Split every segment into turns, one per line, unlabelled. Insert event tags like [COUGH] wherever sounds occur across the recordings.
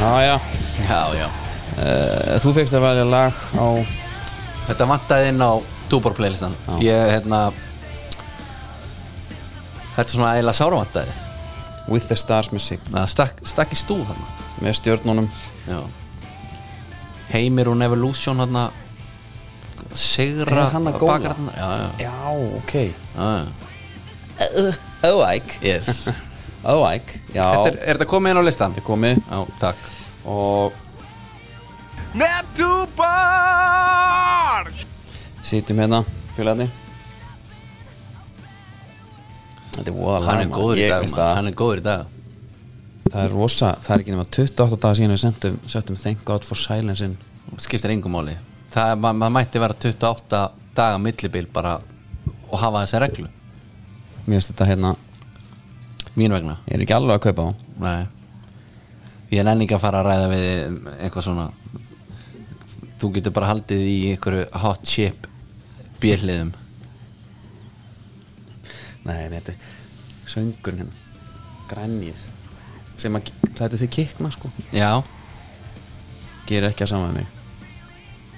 Já, já,
Já, já
Eh, þú fegst að velja lag á
Þetta vantaði inn á Dúbor playlistan Ég, hérna Þetta er svona eiginlega sára vantaði
With the Stars Music
Það stakk, stakk í stúf hann
með stjörnunum
Já Heimir og Evolution hann Sigra
Er hann að góla?
bakar þarna. Já, já,
Já, ok
já,
Óæk
já Yes
Óæk, já
Þetta
Þetta
er, er þetta komið inn á listan?
er komið
Já, takk
og
Með dúbar
sitjum hérna félagarnir Þetta er voða
Hann
lag,
er
maður.
góður í
Ég
dag,
veist
maður.
að
hann er góður í dag
Það er rosa, það er ekki nema 28 dagar síðan við sendum, settum Thank God for Silence in
Skiptir engum máli Það ma ma mætti vera 28 daga millibil bara og hafa þessi reglu
Mér finnst þetta hérna,
Mín vegna
ég er ekki alveg að kaupa á
Nei Ég nenni ekki að fara að ræða við eitthvað svona Þú getur bara haldið í einhverju hot chip björliðum
Nei, nei, þetta er söngurinn hérna Grænjið sem að, það er þið kikna sko
Já,
Gerir ekki að saman við mig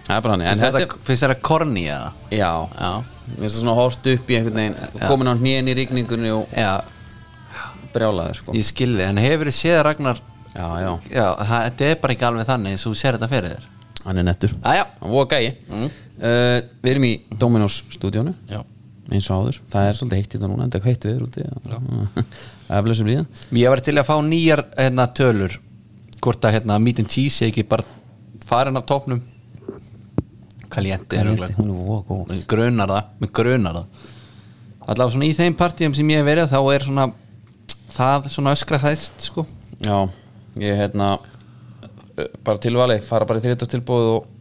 Það er bara hann, en
finnst
þetta,
þetta, finnst þetta korni eða?
er Já,
Já,
mér finnst það svona hort upp í einhvern veginn komin á hnén í rigningunni og
já,
brjálaður sko
ég skilði En hefur þið séð Ragnar
Já, já,
Já, það- þetta er bara ekki alveg þannig eins og þú sér þetta fyrir þér
hann er nettur
Æja,
Hann voða gæi mm. Við erum í Dominos stúdíónu
já
eins og áður, það er svolítið heitt í þetta núna enda heitt við erum [LAUGHS] úti Eflausum um líðan
Ég var til að fá nýjar hérna, tölur hvort að hérna, meet and cheese ég ekki bara farin af topnum Kaliente er örugglega-
Hún er voða góð
Mér grunar það, mér grunar það allavega svona í þeim partíum sem ég hef verið þá er svona það svona öskra hæst sko
Já, ég hérna ö, bara tilvali, fara bara í þriðtastilbóð og,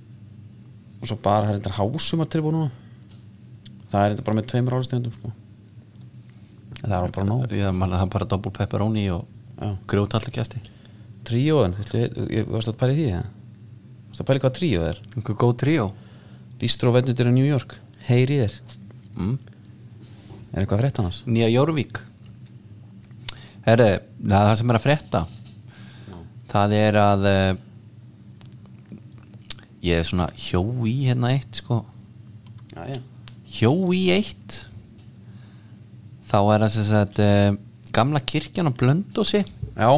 og svo bara það er þetta hásumar tilbúð núna það er þetta bara með tveimur álistegundum sko. það er bara nóg
ég man að það er bara double pepperoni og
Já.
grjót alltaf kæfti
Tríóðan, varst það að pæla í því það? Varst það að pæla í hvað tríóð er?
einhver góð tríó
Bistro Venditur í New York, heyri þér
mm.
Er eitthvað frétt annars?
Nýja Jórvík Herre, það er það sem er að frétta það er að eh, ég er svona hjó í hérna eitt sko
Já, já
hjó í eitt þá er það sem sagt uh, gamla kirkjan á Blöndósi
Já,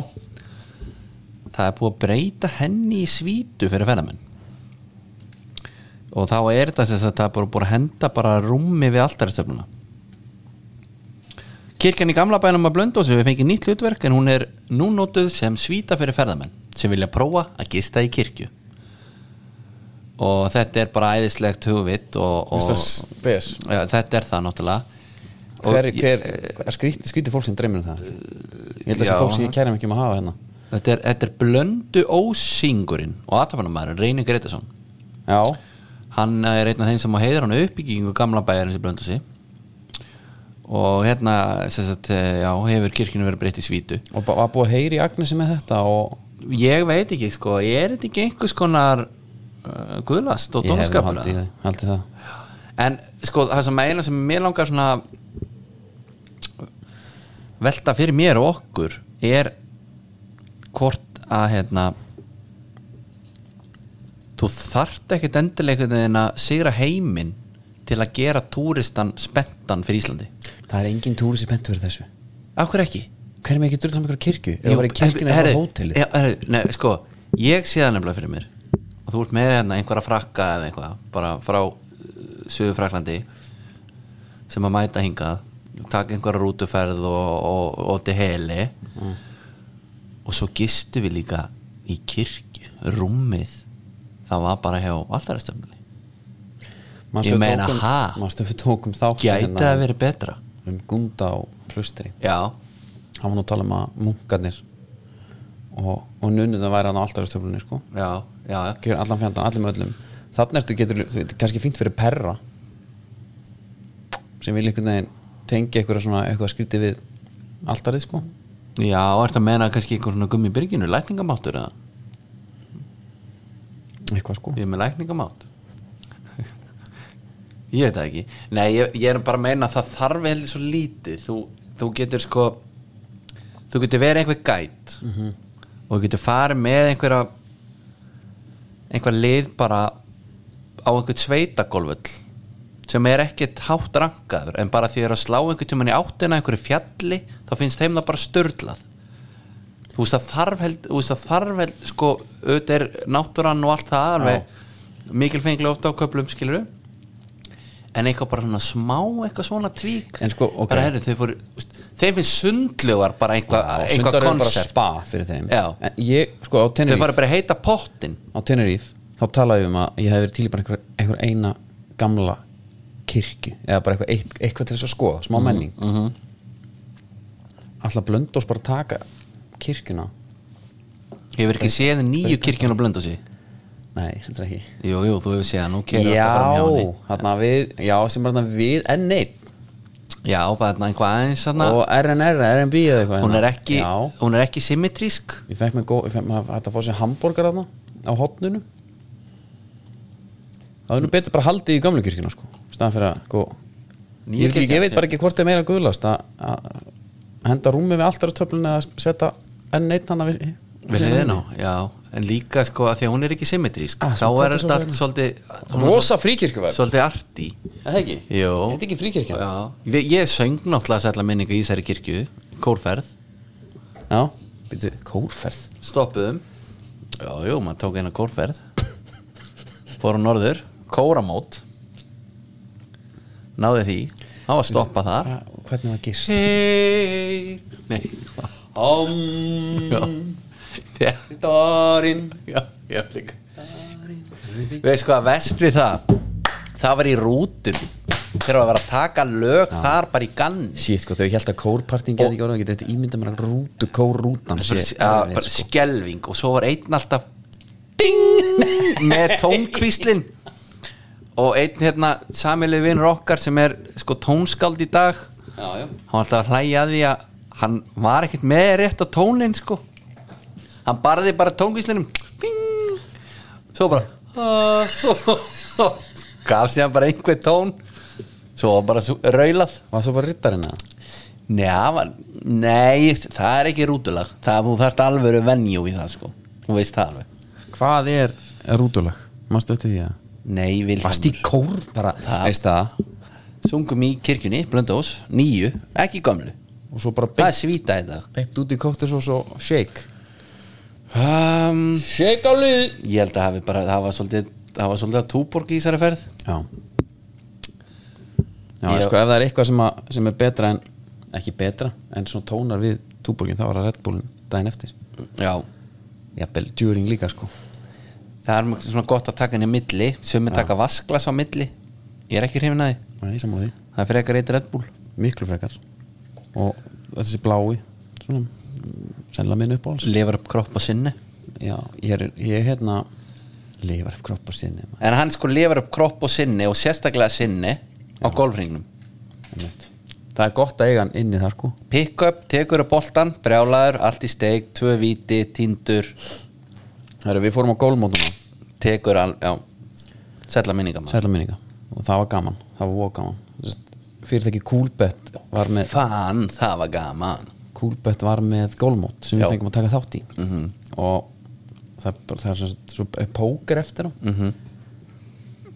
það er búið að breyta henni í svítu fyrir ferðamenn og þá er þetta sem sagt það er bara búið að henda bara rúmi við alltaristöfnuna kirkjan í gamla bænum að blönda og sem við fengið nýtt hlutverk en hún er nú nótuð sem svíta fyrir ferðamenn sem vilja prófa að gista í kirkju og þetta er bara æðislegt hugvit og, og
spes
ja, þetta er það náttúrulega Og
Hver,
ég-
hver, hver skríti, skríti fólk sem dreymir um það Ég held að
já.
það fólk sem ég kærum ekki um að hafa hérna
þetta er, þetta er blöndu ósingurinn og aðtapanamæður Reyni Gretason
Já,
hann eh, er einn af þeim sem á heiðar hann uppbyggingu gamla bæjarins í Blöndusi og hérna sem sagt, eh, já, hefur kirkjunum verið breytt í svítu
og ba- var búið að heyri í Agnesi með þetta og
ég veit ekki sko, er þetta ekki einhvers konar uh, guðlast og
ég hefði
dónaskapur
haldið,
eða?
það- haldið það
en sko það sem eina sem mér langar svona velta fyrir mér og okkur er hvort að hérna þú þart ekkit endilega en að sigra heiminn til að gera túristan spenntan fyrir Íslandi
Það er engin túri sem pentur fyrir þessu
af hverju ekki?
Hver er mér ekki drull saman ykkur kirkju? Ef það var í kirkjunni eða
Herri,
var hótelið
já, herri, nei, sko, ég sé það nefnilega fyrir mér og þú ert með hérna einhverja frakka eða einhvað, bara frá sögur fraklandi sem að mæta hingað taka einhverja rútuferð og, og, og til heli
Mm.
og svo gistu við líka í kirkju, rúmið það var bara hjá allarastöfnuli
Manstu
ég
við
meina,
tókum-
ha?
manstu við tókum þátt hérna
gæti að vera betra
um Gunda á klustri
já,
hann var nú að tala um að munkarnir og, og nunnuna væri hann á alltarastöflunni sko
já, já, já
Gjör allan fjandan, allir með öllum þannig ertu getur, þú veit, kannski fínt fyrir perra sem vil einhvern veginn tengja eitthvað svona eitthvað skrítið við alltarið sko
Já, ertu að meina kannski einhver svona gummi byrginu, lækningamáttur eða?
eitthvað sko,
Ég er með lækningamátt Ég veit það ekki Nei, ég, ég er bara að meina að það þarf heldur svo lítið þú, þú getur sko Þú getur verið einhver gæt og þú getur farið með einhverja einhver lið bara á einhvern sveitagolfull sem er ekkert hátt rankaður en bara því þið er að slá einhvern tímann í áttina að einhverju fjalli, þá finnst þeim það bara störlað þú veist að þarf held, þú veist að þarf held sko, auðvitað er náttúran og allt það alveg mikilfengli ofta á köplum skilur en eitthvað bara svona smá eitthvað svona tvík
En sko, ok.
bara, heyrðu, þau fóru, þú veist, þeim finnst sundlugar bara eitthvað,
Sundar
eitthvað
eru bara
konsept
spa fyrir þeim
Já.
En ég, sko á
þau
Tenerife
fara bara að heita pottin
á Tenerife þá talaði við um að ég hef verið til í bara einhver, einhver eina gamla kirkju eða bara eitthvað, eitt- eitthvað til þess að skoða
Mhm,
smá menning mm -hmm. alltaf blönd bara að taka kirkjuna
hefur ekki séð nýju kirkjun og blöndu sig
nei, þetta er ekki
jú, jú, þú hefur séð hann, ok
já, þarna við já, sem bara þarna við N1
já, bara þarna eitthvað aðeins hana,
og RNR, RNB eða eitthvað
hún, er
hérna.
ekki,
já,
hún er ekki symmetrísk
ég fekk mér góð, ég fekk maður hætti að fá sér hambúrgar þarna á hotninu það er nú betur bara haldið í gamlu kirkjuna sko, staðan fyrir að sko, ég,
Nýja
veit ekki,
kirkjan,
ég veit bara ekki hvort er meira guðlast að, að henda rúmi við alltaf töflun eða setja enn neitt hann við,
við liðin á, já en líka sko að því að hún er ekki symmetrísk
Ah,
þá
svo
er
kallast
þetta
svo
allt svolítið
rosa fríkirkjuverð
svolítið arti
það ekki,
Jó.
þetta er ekki fríkirkja já.
já. Ég, ég söng náttúrulega sætla minningu í þessari kirkju kórferð,
já, býtu, kórferð
stoppuðum já, jú, maður tók eina kórferð fór á norður kóramót náði því, það var stoppað þar
Hva- hvernig var gist
Heyr Nei Om Darin Já, já, líka Veist hvað, vest við það Það var í rútum Þegar var að vera að taka lög þar bara í ganni
Shit, sko, þegar ég held að kórpartin gerði ekki orðið, ég geti ímynda mér að rútu, kórrútan sé
bara,
erfið,
bara
sko.
skelving og svo var einn alltaf ding með tónkvíslin og einn hérna samilið vinnur okkar sem er sko tónskáld í dag já, já. hann var alltaf að hlæja að því að hann var ekkert með rétt á tónin sko hann barði bara tónkvíslinum ding svo bara "Ah." [LAUGHS] gaf sér bara einhver tón svo var bara sú- raulað
Var svo bara rittarinn að
Nei, það var, nei, það er ekki rútulag Það þú þarft alvöru venjú í það sko Þú veist það alveg
Hvað er rútulag? Mástu eftir því að
Nei,
Vast í
Vilhelmur
kór bara
Það-
Veist það
Sungum í kirkjunni, Blöndós, nýju, ekki gömlu
Og svo bara
Það er
beint,
svíta í dag
beint út í kóttisós og shake
um,
Shake á lið
Ég held að hafi bara, það var svolítið Það var svolítið að túborg í þessari ferð
Já Já,
Ég-
sko ef það er eitthvað sem, að, sem er betra en Ekki betra En svona tónar við túborgin Þá var það Red Bullin daginn eftir
Já,
Jafnvel, djúring líka sko
það er mjög svona gott að taka henni milli Sumir taka vasklas á milli Ég er ekki hrifin að því
Það er sammála því
Það er frekar eitt Red Bull
Miklu frekar Og þessi blái Svona Sennilega minn uppáhalds
Lifar upp kropp á sinni
Já, ég er, ég er hérna Lifar kropp á sinni maður.
En hann sko lifar upp kropp og sinni og sérstaklega sinni á golfringnum
Einmitt. Það er gott að eiga hann inni þar sko
Pick up, tekur upp boltan, brjálaður, allt í steik, tvö viti, tindur,
Herru, við fórum á gólmótuna
tekur al, já, sætla minninga maður.
Sætla minninga Og það var gaman Það var voga gaman Fyrirtæki Coolbet var með
Fan, það var gaman.
Coolbet var með gólmót Sem
Já.
við fengum að taka þátt í -hmm. Og það, er bara- það er sem sagt- svo er póker eftir á mm -hmm.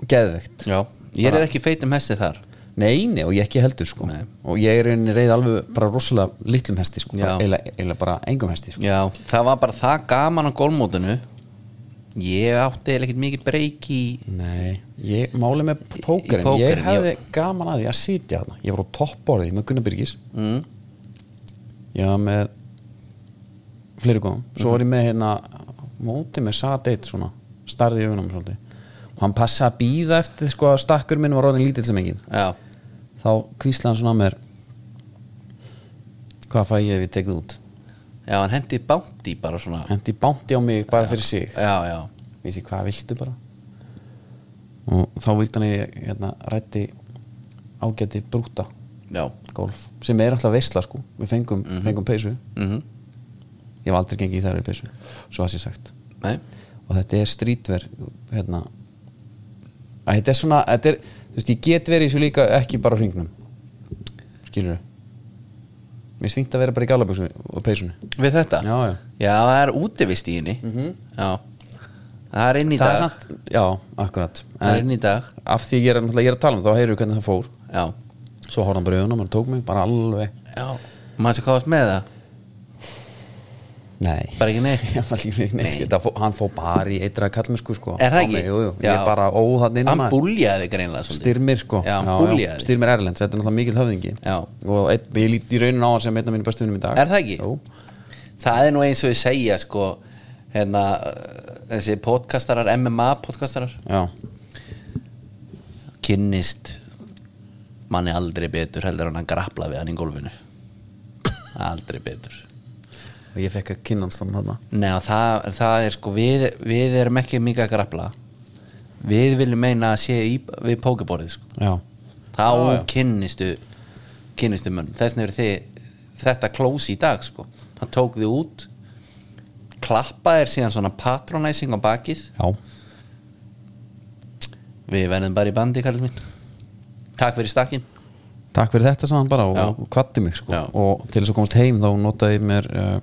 Geðvegt
Já, ég er ekki feitum hestið þar.
Nei, nei, og ég ekki heldur sko
Nei.
Og ég er einnig reið alveg bara rosalega litlum hesti sko bara
Já.
Eila, eila bara engum hesti sko
Já, það var bara það gaman á golfmótinu. Ég átti eiginlega ekkert mikið breyk í,
Nei, ég máli með pókerinn Ég
pókerinn,
hefði gaman að því að sitja þarna Ég var á toppborðið með Gunnar Byrgis
mm,
Ég var með fleiri góðum Svo var ég með hérna móti með sat eitt svona starði í augunum svolítið og hann passa að býða eftir sko að stakkur minn var orðin lítill sem engin
já,
þá kvísla hann svona að mér hvað fæ ég ef ég tekið út
já, hann hendi bánti bara svona.
hendi bánti á mig bara fyrir sig
Já, já,
við sé hvað viltu bara og þá vildi hann að ég hérna, rætti ágæti brúta
já,
golf sem er alltaf veisla sko við fengum, fengum peysu
mhm,
ég hef aldrei gengið í þærri peysu svo að sé sagt
nei,
og þetta er strítver hérna að þetta er svona þetta er, þú veist, ég get verið í þessu líka ekki bara á hringnum skilur Mér svingt að vera bara í gálabjóksu og peysunni
Við þetta?
Já, já.
það er útivist í henni Já Mhm. Það er inn í
Það er
dag
samt, já, akkurat
Það er
en,
inn í dag
Af því ég er, náttúrulega- ég er að tala um það, þá heyrðu hvernig það fór
Já
Svo horfði hann bara í augunum og tók mig, bara alveg
Já Maður sem káðast með það
Nei
Bara ekki [LAUGHS] neitt
[LAUGHS] Ég var líka neitt, sko, það fó- Hann fó bara í eitra kallmennsku sko
Er
Á
það ekki?
mig, Jú, jú, ég
Já.
er bara óðan inn
Hann búljaði þig greinlega svolítið
Styrmir sko
Já, hann búljaði þig
Styrmir Erlends, þetta er náttúrulega mikil höfðingi
Já.
Og einn, ég lít í raunin á hann sem einn af mínu bestu vinnum í dag
Er það ekki?
Jú,
Það er nú eins og ég segja sko Hérna uh, Þessi podcastarar MMA podcastarar
já,
Kynnist Manni aldrei betur heldur en hann grappla við hann í gólfinu Aldrei betur
og ég fekk að kynna hans þannig þarna
Nei, og það, það er sko við, við erum ekki mikið að grafla við viljum meina að sé í, við pókeborðið sko.
Já,
þá
Já, já.
kynnistu kynnistu mönnum, þess vegna eru þið þetta klósi í dag sko hann tók þið út klappa er síðan svona patronizing á bakið
já,
við verðum bara í bandi kallið minn takk fyrir stakkin
takk fyrir þetta sagði hann bara
Já.
og kvatti mig sko
Já.
Og til þess að komast heim þá notaði ég mér uh,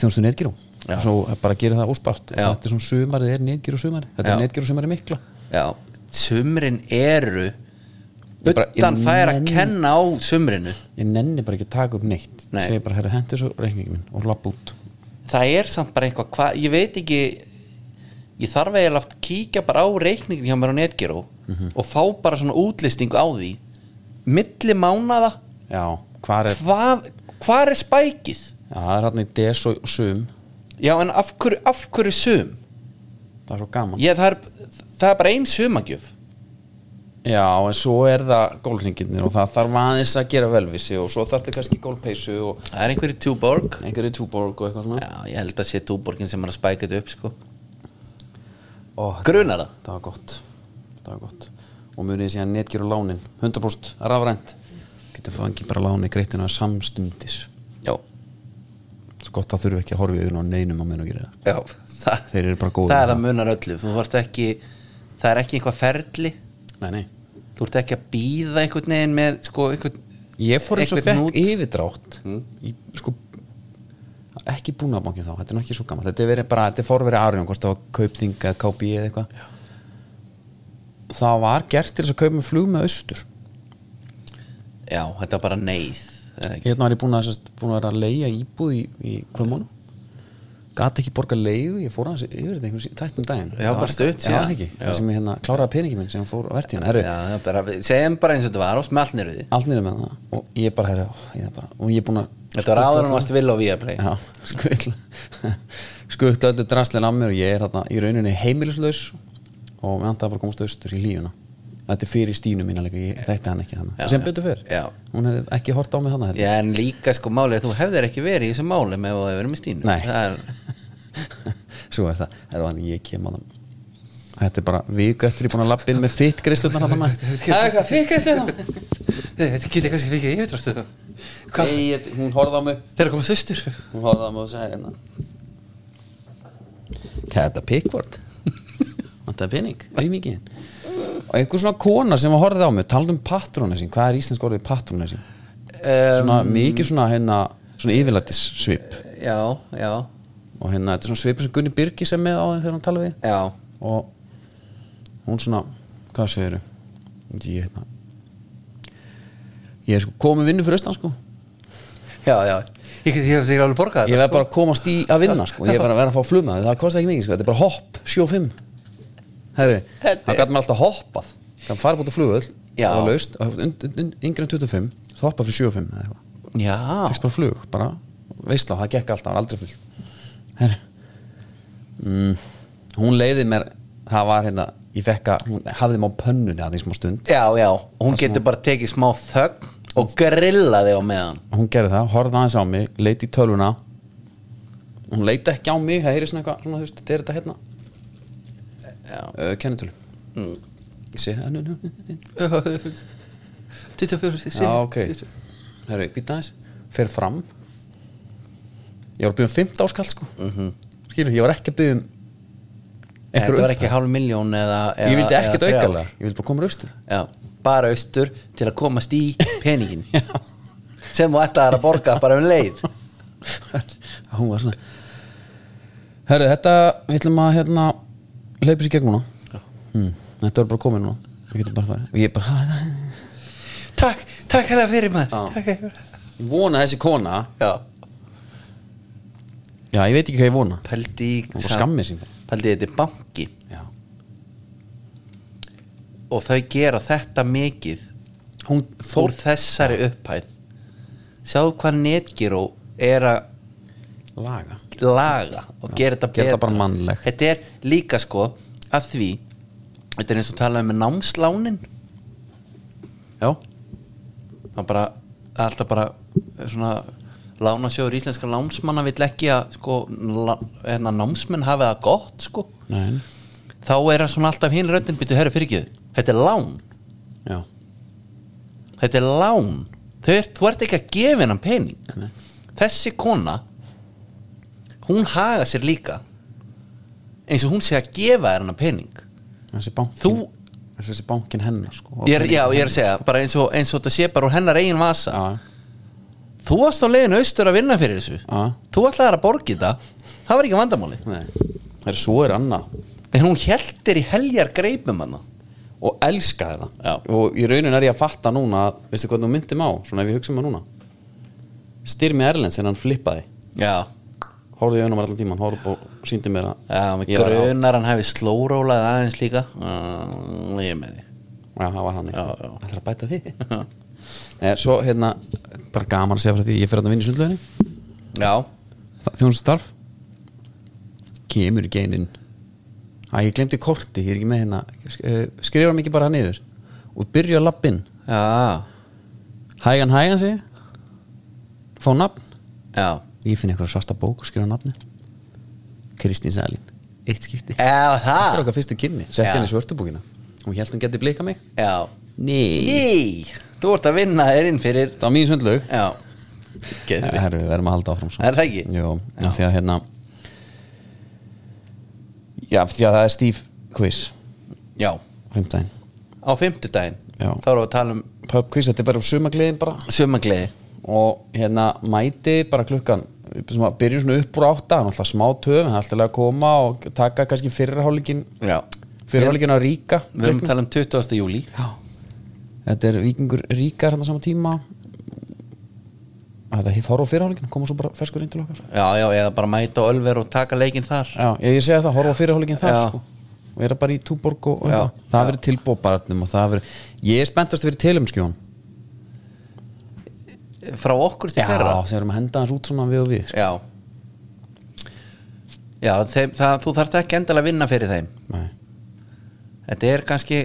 þjónustu netgíró
Já.
Svo bara gera það óspart
Já.
Þetta er svona sumarið er netgíró sumari Þetta
Já.
er netgíró sumari mikla
já, sumrin eru
Ég bara- ég
utan fær að
nenni-
kenna á sumrinu
Ég nenni bara ekki að taka upp neitt
Nei.
Ég segi bara, herra, hendur svo reikningin minn og lapp út
það er samt bara eitthvað hva, ég veit ekki ég þarf eiginlega að kíkja bara á reikningin hjá mér á Netgyro og fá bara svona útlistingu á því milli mánada
Já, hvar
Eh.
er
hvað, hvað er spækið?
Já, það er hann í des og sum
já en af hverju, af hverju sum?
Það er svo gaman
Ég, það, er, það er bara ein sumagjöf
Já, en svo er það gólringirnir og það þarf aðeins að gera velvisi og svo þarf það kannski gólpeysu og
það er einhverju túborg
einhverju túborg og eitthvað svona
já ég held að sé túborgin sem er að spæka þetta upp sko
Ó, þetta-
grunar það?
Það var gott Það var gott Og munið síðan netgjur og lánin 100% rafrænt Getur fangið bara láni greittinu að samstundis
já,
Svo gott það þurfi ekki að horfa í augun á neinum á meðan og gera það
já það,
Þeir eru bara góðir
það
með
er
það.
að munar öllu þú vart ekki það er ekki eitthvað ferli
Nei, nei
þú ert ekki að býða einhvern veginn með sko, einhvern,
Ég fór eins og
Einhvern
fekk
hnút.
yfirdrátt í, sko, ekki búnaðabankin þá þetta er nú ekki svo gaman, þetta er verið bara þetta er fórverið Arjón, hvort það var kaupþinga KB eða eitthvað það var gert til þess að kaupa með flug með austur
já, þetta er bara neyð eða ekki?
hérna var ég búin að, sest, búin að vera að leia íbúð í, í kvömmunum gat ekki borga leigu, ég fór hans yfir þetta einhvern tættum daginn
Já, bara stutt
já,
síðan.
það ekki,
Já.
það sem ég hérna kláraði peningi minn sem fór á vertíðan,
já, það er bara, segjum bara eins og þetta var og smeltnir við því
allt niður með það og ég bara, herri, ó, ég er bara og ég er búin að
þetta var áður en varst vil og við að play
Já, [LAUGHS] skuttla skuttla öllu drastlinn af mér og ég er þarna í rauninni heimilislaus og við andaði bara að komast austur í lífuna Þetta er fyrir Stínu mína líka, ég þekkti hann ekki
Já,
þannig sem
já.
betur fyrr,
Já.
hún hefði ekki hort á mig þannig
já, en líka sko málið er að þú hefðir ekki verið í þessu máli með að verið með Stínu
Nei.
það er,
[LAUGHS] Svo er það, er þannig ég kem að það Þetta er bara viku eftir ég búin að labba inn með þitt greiðstöðnar [LAUGHS] hann að maður Það er eitthvað þitt greiðstöðnar
þetta getur kannski fyrir ég veit ráttu það
Nei, ég- hún horfði á mig
þeir komið sustur
Hún horfði á mig og sagði hérna Hvað er þetta pickvord? [LAUGHS] Vantaði pening, [LAUGHS] auðmikið Og einhver svona kona sem var horfði á mig Taldi um patronizing, hvað er íslensk orðið patronizing?
um,
Svona mikið svona hérna Svona yfirlætis svip
já, já,
Og hérna, þetta er svona svipur sem Gunni Birgis er með á þeim þegar hann tala við
já
Og hún svona, hvað segir þau? Ég hérna Ég er sko komið vinnu fyrir austan sko
já, já, ég get ég hef sér alveg borgað
Ég
þetta, sko-
verð bara að komast í að vinna sko. Ég er bara að vera að fá fluma Það kostar ekki mikið, sko. þetta er bara hopp, 7-5 Herri,
Þetta
það gæti maður alltaf hoppað Gæti farið búin að flugull
Já.
Það var laust, og und- und- und- yngri en 25 Það hoppað fyrir 7-5 eða eitthvað
sko. já,
Fyrst bara flug, bara veistla Það gekk alltaf, það var aldrei full Herri mm, Hún leiði mér, það var hérna Ég fekk að, hún hafði mig á pönnunni að því smá stund
Já, já, hún getur bara tekið smá þögn og grilla þig á [LAUGHS] meðan
hún gerði það, horfði aðeins á mig leiti í tölvuna hún leiti ekki á mig, það heyri svona eitthvað svona, þú veist, þetta er þetta hérna uh, kennitölu ég sé, nú, nú, nú, nú, nú.
24
já, ok herru, býta aðeins, fer fram ég var að byggja um 15 áskall sko, mm skilur, ég var ekki að byggja um
Þetta var
einhverju,
ekki hálf miljón eða, eða
ég vildi ekkert
eða þrjár.
aukalega ég vildi bara koma raustur [LAUGHS]
Já, bara austur til að komast í peningin
Já.
sem þú ætlaðar að borga bara um leið
[LAUGHS] hún var svona herru þetta við ætlum að hérna hleypa sér gegn núna hmm. þetta var bara komið núna við getum bara farið ég, bara, [LAUGHS]
Takk, takk hérna fyrir maður
Já.
Takk hérna fyrir
ég vona að þessi kona
Já,
já ég veit ekki hvað ég vona
pældi í-
hún var skammið sín bara.
Pældi í þetta er banki
já.
og þau gera þetta mikið
hún
fór
fór
þessari upphæð Sjáðu hvað netgíró er að
laga
laga og gera
gera
þetta betra
þetta bara mannlegt.
þetta er líka sko að því þetta er eins og talað um með námslánin
já
það bara, alltaf bara eh, svona lánasjóður íslenska námsmanna vill ekki að sko, la- hérna, námsmenn hafi það gott sko
Nei.
þá er það svona alltaf hinn röddin byrju herru fyrirgjöðu, þetta er lán
já
þetta er lán Þau er, þú ert ekki að gefa hennan pening þessi kona hún haga sér líka eins og hún sé að gefa þér hennan pening
þessi bankin
þú,
þessi bankin hennar sko
ég er, já, ég er að segja bara eins og, eins og þetta sé bara úr hennar eigin vasa
já
þú varst á leiðinu austur að vinna fyrir þessu
já
þú ætlaðir að borgi það það var ekki vandamáli
Nei. Það er svo er annað
en hún heldir í heljar greipum hann
og elskaði það
Já.
og í raunin er ég að fatta núna veistu hvað þú myndir má, svona ef ég hugsa um það núna styrmi Erlends en hann flippaði
já,
horfði í önum allan tíman, horfði og síndi mér að
já mig
ég var á-
grunar hann hefði slórólað aðeins líka uh, ég er með því
já, það var hann,
Já, já.
ætlar að bæta því
[LAUGHS]
Nei, svo hérna bara gaman að segja frá því, ég fyrir að vinna í sundlöðinni
já,
þjónustarf kemur í geinin að ég glemdi korti, ég er ekki með hérna Sk- eh, skrifar mikið bara niður og byrja að lappin
já,
hægan hægan segi ég. fá nafn
já
ég finn eitthvað svarta bók og skrifa nafni Kristín Salín eitt skipti það
Já,
er
það
okkar fyrstu kynni setti
Já.
henni í svörtubókina hún held hún geti blika mig
Já
nei
Í, þú ert að vinna þér inn fyrir
það var mín sundlaug
Já Getur við
herru við verðum að halda áfram svo
Er það ekki?
Jó, af því að hérna já af því að það er Steve quiz
Já,
fymtdæin
á fimmtudaginn
Já.
Þá erum við að tala um
pub quiz þetta er bara um sumagliðin bara
sömangleði
og hérna mæti bara klukkan svona, byrjum svona upp úr átta hann er alltaf smá töf, hann er alltaf að koma og taka kannski fyrirhálingin
Já
fyrirhálingin að ríka
Við erum að tala um 20. júli
Já. þetta er vikingur ríkar hann á sama tíma þetta er horf á fyrirhálingin koma svo bara ferskur inn til okkar
Já, já, eða bara mæta á Ölver og taka leikinn þar
Já, ég, ég segja það, horfa á fyrirhálingin þar
Já.
sko. og er það bara í túborg og, og
Já.
eitthvað. það verður tilbóbarnum um og það verður ég er spenntast fyrir telumskjón
Frá okkur til
Já,
þeirra
þegar við erum að henda hans út svona við og við sko.
Já Já, þeim, það, þú þarft ekki endilega að vinna fyrir þeim
Nei.
Þetta er kannski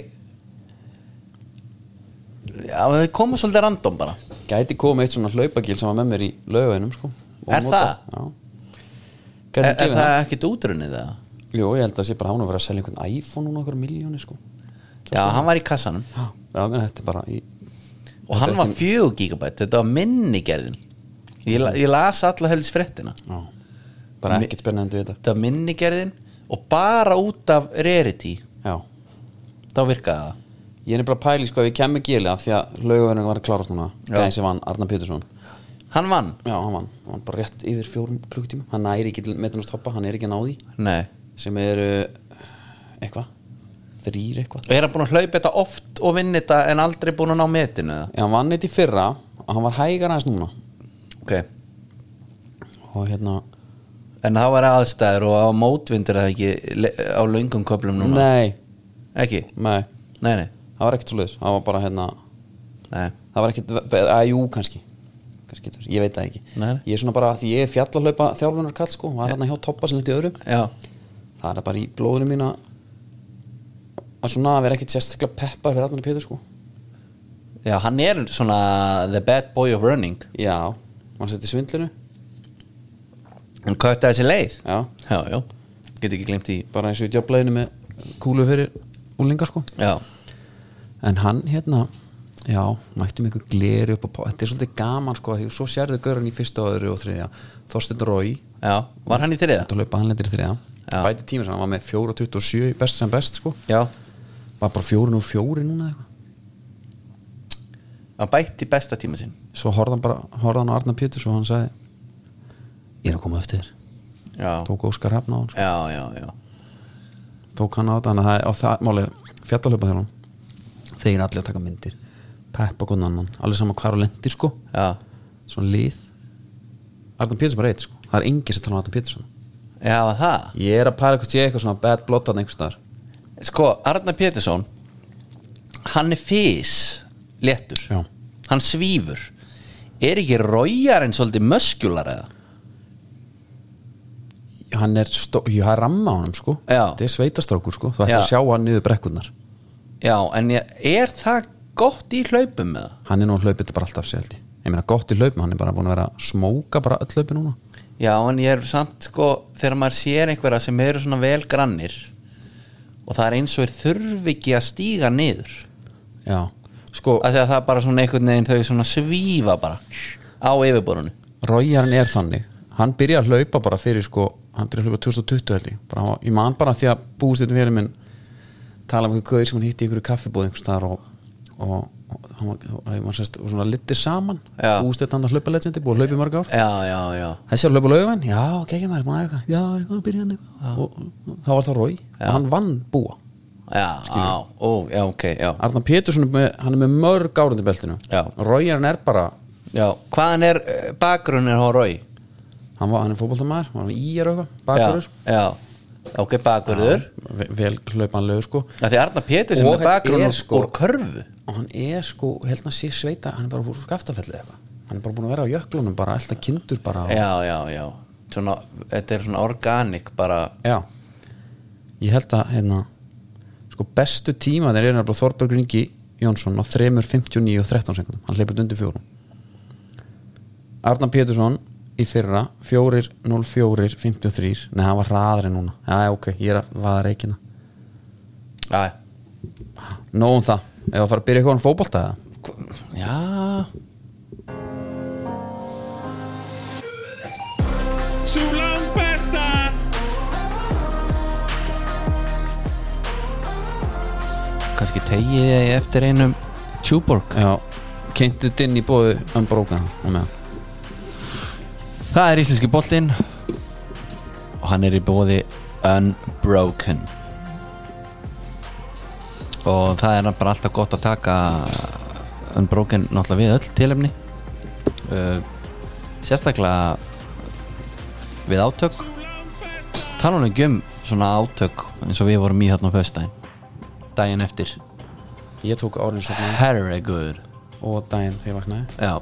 Já, það koma svolítið random bara
gæti komið eitt svona hlaupagil sem var með mér í laugainum sko, og
Er
nota-
það?
Já.
Er,
gæti
er
gefið það,
það ekkit útrunnið það?
Jú, ég held að sé bara hann að vera að selja einhvern iPhone núna okkur miljónir sko
Já, hann var í kassanum
Já, já menn, þetta er bara í...
og hann var fjögur gigabæt þetta var minni gerðin ég, la- ég las alla helst fréttina
já. bara ekkert spennandi við
þetta var minni gerðin og bara út af rarity
þetta Já,
þá virkaði það
ég er nefnilega að pæli sko ef ég kem með gili af því að laugaverðinu var að klárast núna
Já.
gæði sem vann Arna Pétursson
hann vann,
Já, hann vann, hann vann bara rétt yfir fjórum klukkutíma hann næri ekki til metanast hoppa, hann er ekki að ná því
nei
sem er uh, eitthvað, þrýr eitthvað
er hann búin að hlaupa þetta oft og vinna þetta en aldrei búin að ná metinu eða?
Já, hann vann eitt í fyrra og hann var hægar aðeins núna
ok,
og hérna,
en það var aðstæður og á mótvindur eða ekki le- á löngum köflum núna
nei,
ekki,
nei
nei, nei,
það var ekkert svo leiðis, það var bara hérna
nei
það var ekkert, að jú kannski kannski getur, ég veit það ekki
Nei.
ég er svona bara að því ég er fjallalaupa þjálfunar kall sko, var hérna hjá toppa sem lítið öðru
já,
það er það bara í blóðinu mín að að svona vera ekkert sérstaklega peppar fyrir Arnar Pétur sko
já, hann er svona the bad boy of running
já, mann setti svindlinu
hann köttaði sér leið
já,
já, já, get ekki glemt því
bara eins og í djábleginu með kúlu fyrir úlingar sko
já,
en hann hérna já, mættum ykkur gleri upp á pá- þetta er svolítið gaman sko, því svo sérðu görðan í fyrsta og öðru og þriðja, Þorstein Rói
já, var hann í þriða?
að laupa hann lendir í þriða
Já.
bæti tíma sem hann var með 4.27 í best sem best sko
Já,
var bara 4.04 núna eða eitthvað
hann bætti besta tíma sinn
svo horfði hann bara, horfði hann á Arna Péturs og hann sagði ég er að koma eftir þér
já,
tók Óskar Hrafn á hann, sko.
já, já, já
tók hann á þetta þannig að það er, og það máli er fjallahlupa þegar hann þeir allir að taka myndir peppa konan annan, alveg saman hvar á lendir sko
já,
svona lið Arna Péturs er bara eitt sko, það er engin sem tala um Arna Péturs
já það
ég er að pæla hvort ég er eitthvað svona bad blood hann einhvers staðar
sko, Arnar Pétursson hann er fís léttur,
Já.
hann svífur er ekki raujarinn svolítið möskjular eða?
hann er, stó, jú, það er ramma á hann sko
Já.
þetta er sveitastrákur sko, þú ætti
Já.
að sjá hann niður brekkurnar
já, en ég, er það gott í hlaupum með það?
hann er nú hlaupið bara alltaf sér held ég ég meina gott í hlaupum, hann er bara búin að vera að smóka bara öll hlaupi núna
já, en ég er samt sko þegar maður sér einhverja sem eru svona vel grannir og það er eins og er þurfi ekki að stíga niður
já, sko,
af því að það er bara svona einhvern veginn þau svona svífa bara á yfirborunni
Rójarinn er þannig hann byrja að hlaupa bara fyrir sko hann byrja að hlaupa 2020 held ég bara, hann var- ég man bara því að búist þetta verið minn tala um einhver gauðir sem hann hitti í einhverju kaffibúð einhvers staðar og, og, og hann var, hann var sérst, og svona littir saman
Já.
búist þetta hann að hlaupa legendi, búið að hlaupa í mörg ár
já, já, já,
þessi að hlaupa laugavinn, já, kekja maður búin að æfa eitthvað. já, eitthvað, byrja hann eitthvað og, og það var það Rói, og hann vann búa
já, á, ó, já, ok já,
Arna Pétursson, er með, hann er með mörg árund í beltinu
Já.
Rójarinn er bara
já, hvaðan er eh, bakgrunnir á rau?
hann, var, hann er fótboltamæður, hann var í er eitthvað
já,
bakurur,
já, ok, bakgrunnur
ve- vel hlaupanlegur sko
af því Arnar Pétur sem
Og
er
þetta er,
bakgrunn
sko-
sko... úr körfu
og hann er sko, ég held að sé sveita hann er bara úr skaftafelli eitthvað hann er bara búin að vera á jöklunum, bara alltaf kindur bara og,
já, já, já svona, þetta er svona organik bara
já, ég held að hérna, sko bestu tíma þeir eru nefnilega Þorbergur Ingi Jónsson á 3.59 og 13 sekundum hann hleypur undir fjórum Arnar Pétursson í fyrra 4.04.53 nei, hann var hraðri núna, já, ok, ég er að vaða reikina
já,
nóg um það, ef að fara að byrja eitthvað um fótbolta eða
já
Sú langt besta
kannski tegið þið eftir einum tjúborg
Já, kynntið dinn í bóðu en brókaðan og meðan
það er íslenski boltinn og hann er í bóði Unbroken og það er bara alltaf gott að taka Unbroken náttúrulega við öll tilefni uh, sérstaklega við átök talanum ekki um svona átök eins og við vorum í þarna á föstudaginn daginn eftir
Ég tók árin svo
herregur
og daginn þegar ég vaknaði
já,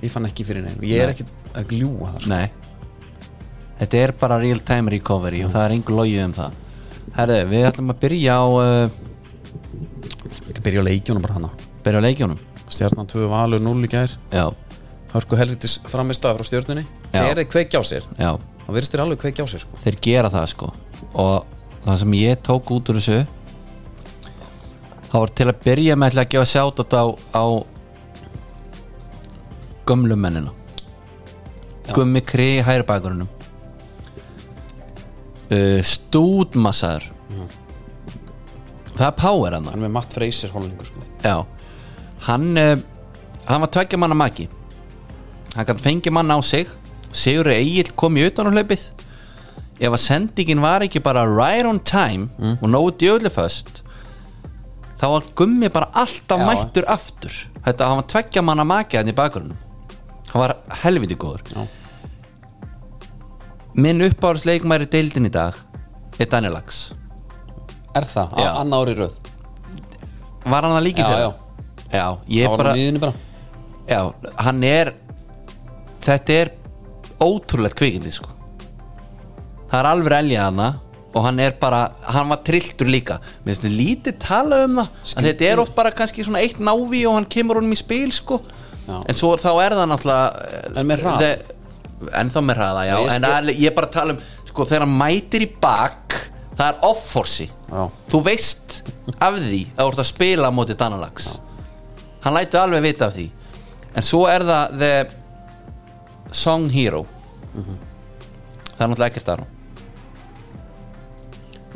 Ég fann ekki fyrir neinu, ég er
Nei.
ekki að gljúa það sko.
Nei Þetta er bara real time recovery og það er engu logið um það Herðu, við ætlum að byrja á uh,
Ég byrja á leikjónum bara hana
byrja á leikjónum
Stjarnan 2 valur 0 í gær
Já,
Hörku helvitis framist af frá stjörnunni
Já.
Þegar þeir kveikja á sér
já,
Það virðist þeir alveg kveikja á sér sko.
þeir gera það sko og það sem ég tók út úr þessu það var til að byrja með ætla að gefa sjátt á, á gömlumennina Gummi Kri í hægri bakurunum uh, Stúdmassaður Það er power hann
Hann er með Matt Freyser holningu sko.
Já Hann, uh, hann var tveggja manna maki Hann kann fengi manna á sig Sigur Egil kom í utan á hlaupið Ef að sendingin var ekki bara right on time
Mm.
og nógu djöðlega föst þá var gummi bara alltaf
Já.
mættur aftur Þetta, hann var tveggja manna maki hann í bakgrunum Hann var helviti góður
Já.
Minn uppáðsleikmæri deildin í dag er Daniel Lax
Er það,
Já.
A- annað ári röð
Var hann að líka
Já,
fyrir?
já.
já, ég
Það var
bara
bara... nýðinu bara
Já, hann er Þetta er ótrúlegt kvikindi sko Það er alveg elja hana og hann er bara, hann var trilltur líka Mér finnst þetta lítið tala um það en þetta er oft bara kannski svona eitt návi og hann kemur honum í spil sko
Já.
en svo þá er það náttúrulega eh,
En með hraða.
the- En þá með hraða, já
Nei, ég
En
skil-
al- ég er bara að tala um, sko þegar hann mætir í bak það er offorsi
Já.
Þú veist af því að þú ert að spila á móti Danalags hann lætur alveg vita af því en svo er það the song hero það er náttúrulega ekkert aðra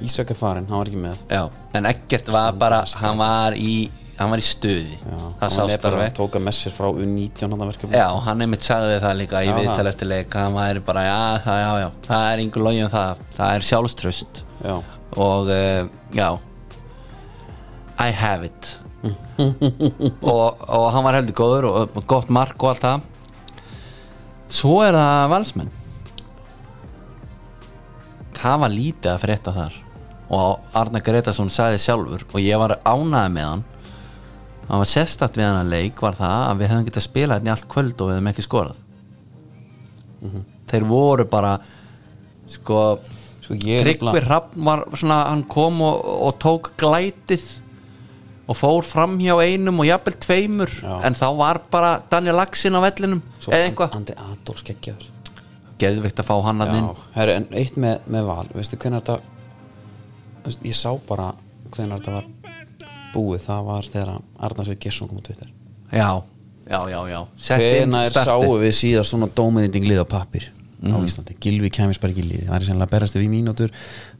Ísak er farinn, hann var ekki með
já, en ekkert var bara hann var í hann var í stuði það
hann
sást
er bara
alveg
að tóka með sér frá U19 hann verkefni
Já, hann einmitt sagði það líka í
Já,
viðtal
það.
eftir leik hann væri bara, já, það, já, já, það er yngur logið um það, það er sjálfströst
Já.
og uh, já I have it og, og hann var heldur góður og og gott mark og allt það svo er það valsmenn það var lítið að frétta þar og Arna Gretarsson sagði sjálfur og ég var ánæði með hann hann var sérstakt við hann að leik var það að við hefðum getað spilað hérna í allt kvöld og við hefðum ekki skorað þeir voru bara sko
Sko, ég er
Tryggvi
nefnilega-
Hrafn var svona hann kom og, og tók glætið og fór fram hjá einum og jafnvel tveimur
Já.
en þá var bara Daniel Laxin á vellinum
Svo
eða eitthvað
Andri Adolfs geggjaður
geðvikt að fá hann að inn
Já, herru, en eitt með, með val veistu hvernig þetta veist, ég sá bara hvernig þetta var búið, það var þegar Arnarsveig Gesson kom á Twitter
já, já, já, já Sett inn
hvernig
startið.
sáu við síðan svona dominating lið á pappir á Íslandi, Gilvi kæmis bara ekki í liðið það er sennilega að berjast við í mínútur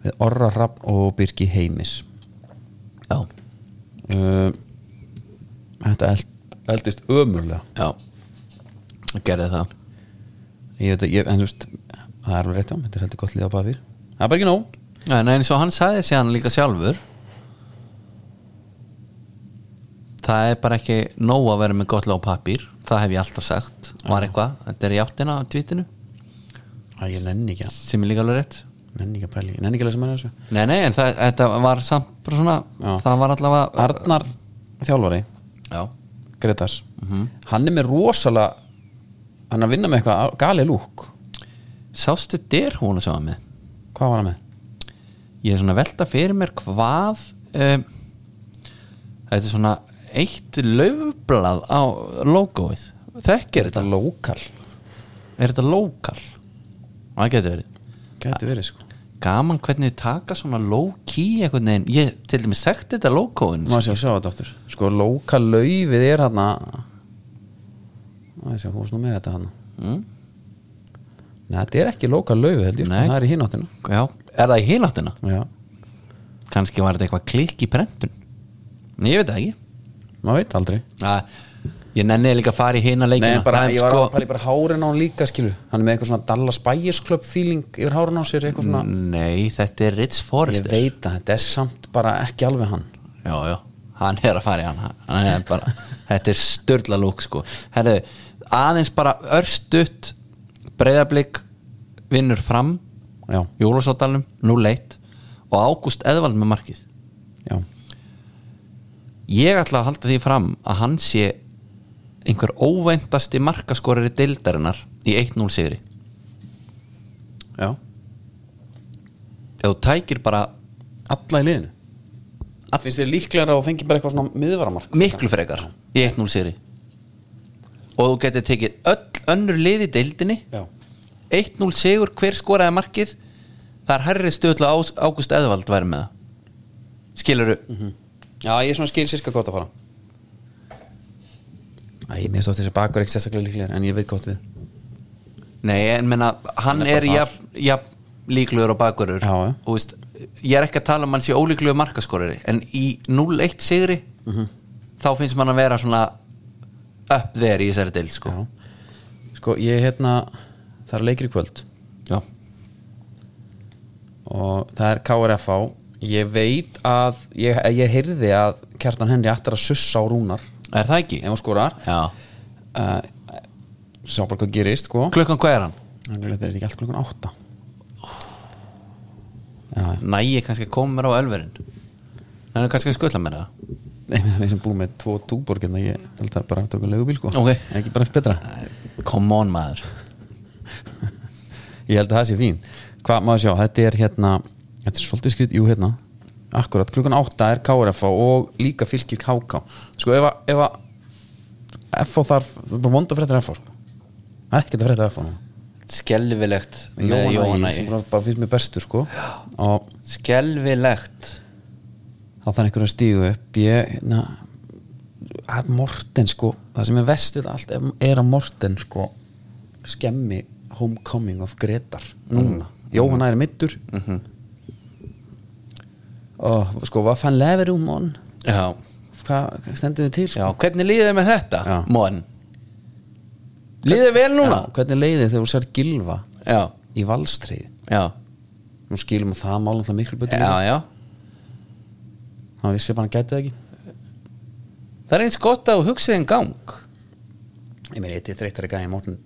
við Orra Rapp og Birgi Heimis
já,
uh, þetta eld, eldist ömurlega
já gerði það
ég veit að, ég, en þú veist það er alveg rétt á, þetta er heldur gott lið á pappir það er bara ekki nóg
já, en eins og hann sagði sér hann líka sjálfur það er bara ekki nóg að vera með gott lág pappír það hef ég alltaf sagt, var eitthvað þetta er í áttina á tvítinu
Æ, ég nenni ekki að,
sem er líka alveg rétt
nenni ekki að pæli nenni ekki að lesa mér þessu
Nei, nei, en það, þetta var samt bara svona,
Já.
það var allavega
Uh, Arnar þjálfari
Já,
Gretars, hann er með rosalega hann er að vinna með eitthvað gali lúk,
sástu dyr hún að sjá með
hvað var hann með?
Ég er svona að velta fyrir mér hvað um, Þetta er svona eitt laufblað á logoið Þekkir þetta?
lokal
Er þetta lokal? Það getur verið
gæti verið sko
Gaman hvernig þið taka svona low-key einhvern veginn Ég til dæmis þekkti þetta logoin
maður sé að sjá þetta aftur sko lokal laufið er hann að maður sé að hún er nú með þetta hann
mm?
Nei, þetta er ekki lokal laufið held ég sko.
Nei.
það er í hináttina
Já, er það í hináttina?
Já.
Kannski var þetta eitthvað klikk í prentun Nei, Ég veit það ekki
maður veit aldrei
Að, ég nenni líka að fara í hina leikina
Nei, bara,
Það er
ég var
sko-
að pæli bara hárin á hann líka skilu hann er með eitthvað svona Dallas Buyers Club feeling yfir hárin á sér eitthvað svona
Nei, þetta er Ritz
ég
Forrester
veit að þetta er samt bara ekki alveg hann
Já, já, hann er að fara í hann, hann er bara, Þetta er störla lúk sko. Herðu, aðeins bara örstutt breyðablík vinnur fram
Já,
Jólasóttalum, nú leitt og Ágúst Eðvald með markið
já,
Ég ætla að halda því fram að hann sé einhver óvæntasti markaskorari deildarinnar í 1-0 sigri
já
Ef þú tækir bara
alla í liðinu finnst þér líklegra að fengi bara eitthvað svona miðvaramark
miklu frekar í 1-0 sigri og þú getur tekið öll önnur lið í deildinni
já,
1-0 sigur, hver skoraði markið það er herrið stöðla Ágúst Eðvald væri með það skilurðu,
Mhm. já ég er svona skil sirka gott að fara Æ, mér stótt þessi bakur ekki sérstaklega líklegra en ég veit gott við
nei en menna hann
Hann er
er,
bara
er
þar.
jafn, jafn líkluður og bakurur
Já, já.
og veist, ég er ekki að tala um hann sé ólíkluður markaskorari en í 0-1 sigri
Mhm.
þá finnst mann að vera svona upp þeir í þessari deild sko.
já. sko ég hérna það er leikir í kvöld
já,
og það er KRFA ég veit að ég, ég heyrði að kjartan henni aftur að sussa á rúnar
er það ekki?
ef hún skorar
já,
uh, sá bara hvað gerist sko
klukkan hvað er hann?
þannig að þetta er ekki allt klukkan átta
næ ég kannski að koma mér á ölverin en það er kannski að skutla mér það
Nei, ég meina, við erum búið með tvo túborg en ég held að bara aftöku legubíl sko
Ok.
ekki bara betra,
come on maður
ég held að það sé fín hvað maður sjá, þetta er hérna þetta er svolítið skrið, jú hérna akkurat, klukkan 8 er KRF og líka fylgir KK sko ef að, ef að FO þarf, það er bara vonda fréttir af FO sko. það er ekkert að frétta af FO nú
skelvilegt með
Jóhann
Jóhann
Ægir, sem
Ægir
bara, bara finnst mér bestur sko og
skelvilegt
þá þarf einhverju að stígu upp ég, na, að Morten sko það sem er vestið allt er, er að Morten sko skemmi Homecoming of Gretar núna, Jóhann æri mittur og sko, hvað fann leverum on
já
hvað hvað stendur þið til sko?
Já, hvernig líður þið með þetta,
Já.
Móen? Líður þið vel núna?
Já, hvernig leiði þegar þú sér gilva
Já,
í valstrið
já,
nú skilum við það málum það miklu betur
já,
núna.
já.
hann vissi bara að hann gæti það ekki
Það er eins gott að þú hugsið en gang
ég meina, þetta er þreytari gæði morgun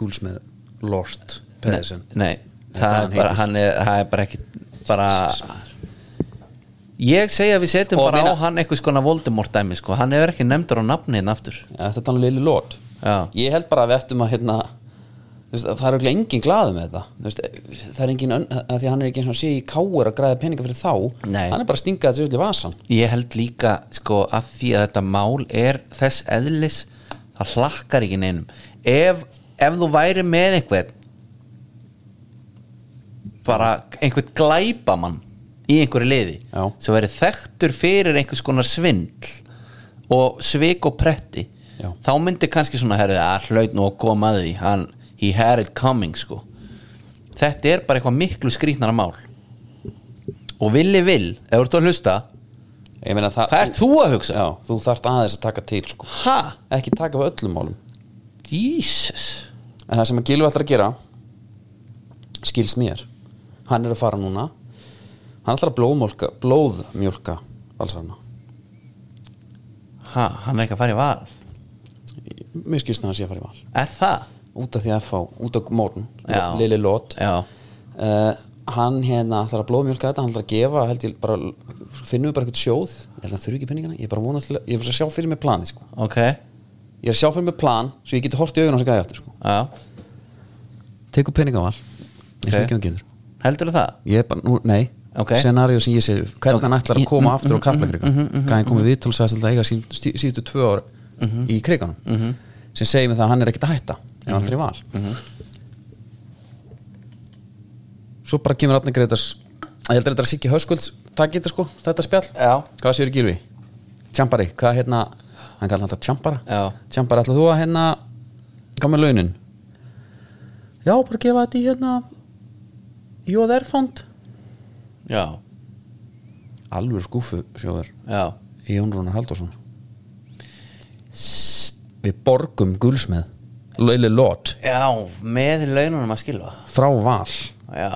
gúlsmið Lord Pedersen
Nei,
hvað hann
það er bara,
heitir.
hann er, það er bara ekki bara Ég segi að við setjum
Og
bara
meina-
á hann einhvers konar Voldemort dæmi sko, hann hefur ekki nefndur á nafni hinn aftur
ja, þetta er hann Lili Lord
Já.
ég held bara að við ættum að hérna þú veist, það er auðvitað engin glaðu með þetta Þú veist, það er engin, ön- að því að hann er ekki eins og sé í káur að græða peninga fyrir þá
Nei.
hann er bara að stinga þessu öll í vasan
Ég held líka sko að því að þetta mál er þess eðlis það hlakkar ekki neinum ef, ef þú væri með einhvern bara einhvern glæpamann í einhverju liði
Já.
sem væri þekktur fyrir einhvers konar svindl og svik og pretti
Já.
þá myndi kannski svona herðu að hlaut nú að koma að því hann, he had it coming sko þetta er bara eitthvað miklu skrýtnara mál og villi vill ef þú ert að hlusta
ég meina það
Hvað ert þú að hugsa?
já, þú þarft aðeins að taka til sko.
Ha?
ekki taka við öllum málum
Jesus
en það sem að Gilvi ætlar að gera skils mér hann er að fara núna hann ætlar að blóðmjólka blóðmjólka valsarna
Ha, hann er ekki að fara í val
mér skilst það að hann sé að fara í val
Er það?
út af því að fá, út af morgun
Já.
Lili Lót
Já
uh, hann hérna ætlar að blóðmjólka þetta hann ætlar að gefa, held ég bara finnum við bara eitthvað sjóð, ég held að þurfi ekki penningana ég er bara vonað til að, ég er að sjá fyrir mig plani sko.
Ok
ég er að sjá fyrir mig plan, svo ég geti hort í augun á sig gæði aftur sko.
Já
tekur penningaval, eins og
Ok.
ekki hann getur
Heldurðu það?
ég er bara, nú, nei,
Ok.
scenaríu sem ég sé hvernig hann ætlar að koma aftur á kaplakrika hvað hann komið viðtal og sagðist alltaf eiga sín- stí- síðustu tvö ár í kriganum sem segir mig það að hann er ekkert að hætta ef hann fyrir val svo bara kemur Arne Greitars að ég heldur þetta að Siggi Höskulds það getur sko, þetta spjall
Já.
hvað séu Gilvi? Tjampari, hvað hérna hann kallar hann alltaf Tjampara
Já.
Tjampari, ætlar þú að hérna hvað með launin? já, bara gefa þetta í hérna Jóðar fond
Já
alveg skúfu sjóður
Já
í Jónrúnar Halldórsson við borgum gulsmeð Leili Lott
Já, með laununum að skilfa
frá val
Já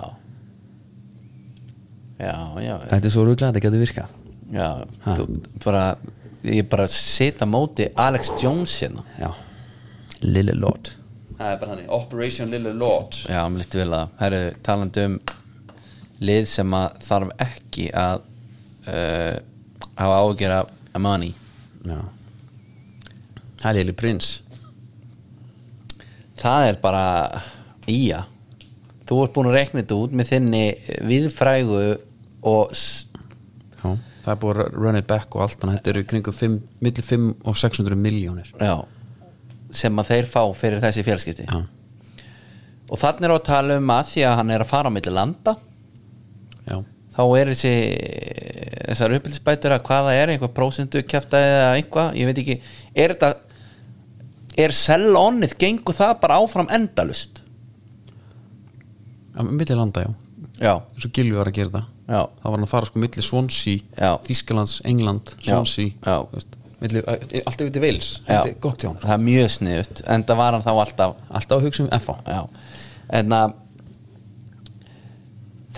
Já, já
þetta er svo rúglega að þetta getur virkað
Já,
Ha.
þú bara Ég bara sita á móti Alex Jones hérna
já Lille Lott það er bara þannig Operation Lille Lott
Já, mér líst vel að Herru, talandi um lið sem að þarf ekki að uh, hafa ágjör af Amani
já það er Lille Prins
Það er bara íja Þú ert búin að rekna þetta út með þinni viðfrægu og s-
já það er búið að run it back og allt þannig að þetta eru í kringum 5 millir 5 og 600 miljónir
já, sem að þeir fá fyrir þessi fjölskyldi
já
og þannig er á að tala um að því að hann er að fara á milli landa
já
þá er þessi þessar uppbyllisbætur að hvaða er einhvað prósendu kjaftaði eða einhvað ég veit ekki, er þetta er sellónnið, gengur það bara áfram endalust
Já, milli landa já
já,
eins og Gilvi var að gera það
já,
þá var hann að fara sko milli Swansea
Já.
Þískalands, England, Swansea
Já.
þú veist, milli, allt yfir til Wales
já.
Þetta er gott hjá hann
það er mjög sniðut en það var hann þá alltaf
alltaf að hugsa um FA
já. en að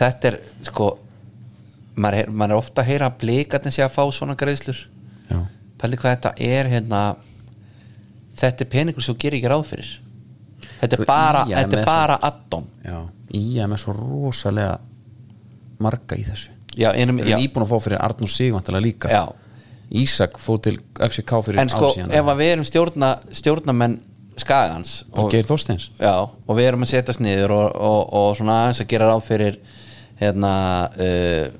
þetta er sko maður er, maður er ofta að heyra að blíkarnir sé að fá svona greiðslur
já,
pæli hvað þetta er hérna þetta er peningur sem þú gerir ekki ráð fyrir þetta
Þú-
er bara,
já,
þetta
með
er bara addon
já. ég er með svo rosalega marga í þessu
já, einum,
við
já,
erum íbúin að fá fyrir Arnur Sigvantala líka
já.
Ísak fór til FCK fyrir
en sko,
ár síðan
ef að við erum stjórna, stjórnamenn skagans
og Geir Þorsteins
já, og við erum að setjast niður og, og, og svona aðeins að gera ráð fyrir hérna uh,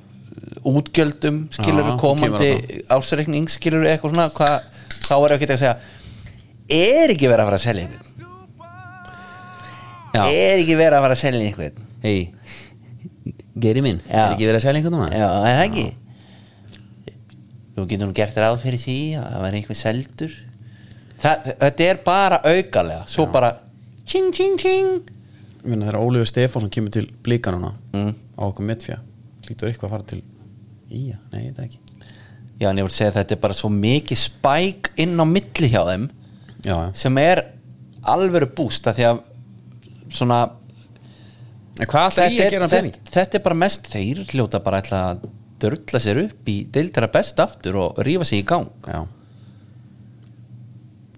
útgjöldum skilur
Já, þú
komandi
kemur
ásreikning skilur eitthvað svona hva, þá er ekki að segja er ekki verið að fara að selja einhvern
já,
er ekki verið að fara að selja einhvern
hei Geiri minn,
Já.
er ekki verið að selja einhvern núna?
já, er það ekki þú getur nú gert ráð fyrir því að það verið einhver seldur það, þetta er bara aukalega svo bara tjing tjing tjing
minna þegar Ólífi Stefánsson kemur til blika núna
Mm.
á okkur mittfjö lítur eitthvað að fara til Ía, nei, þetta ekki
já en ég vil segja að þetta er bara svo mikið spæk inn á milli hjá þeim
já, já.
sem er alvöru bústa því að svona
en hvað ætla ég að gera
þetta,
pening?
þetta er bara mest þeir hljóta bara ætla að dörla sér upp í deildara best aftur og rífa sig í gang
já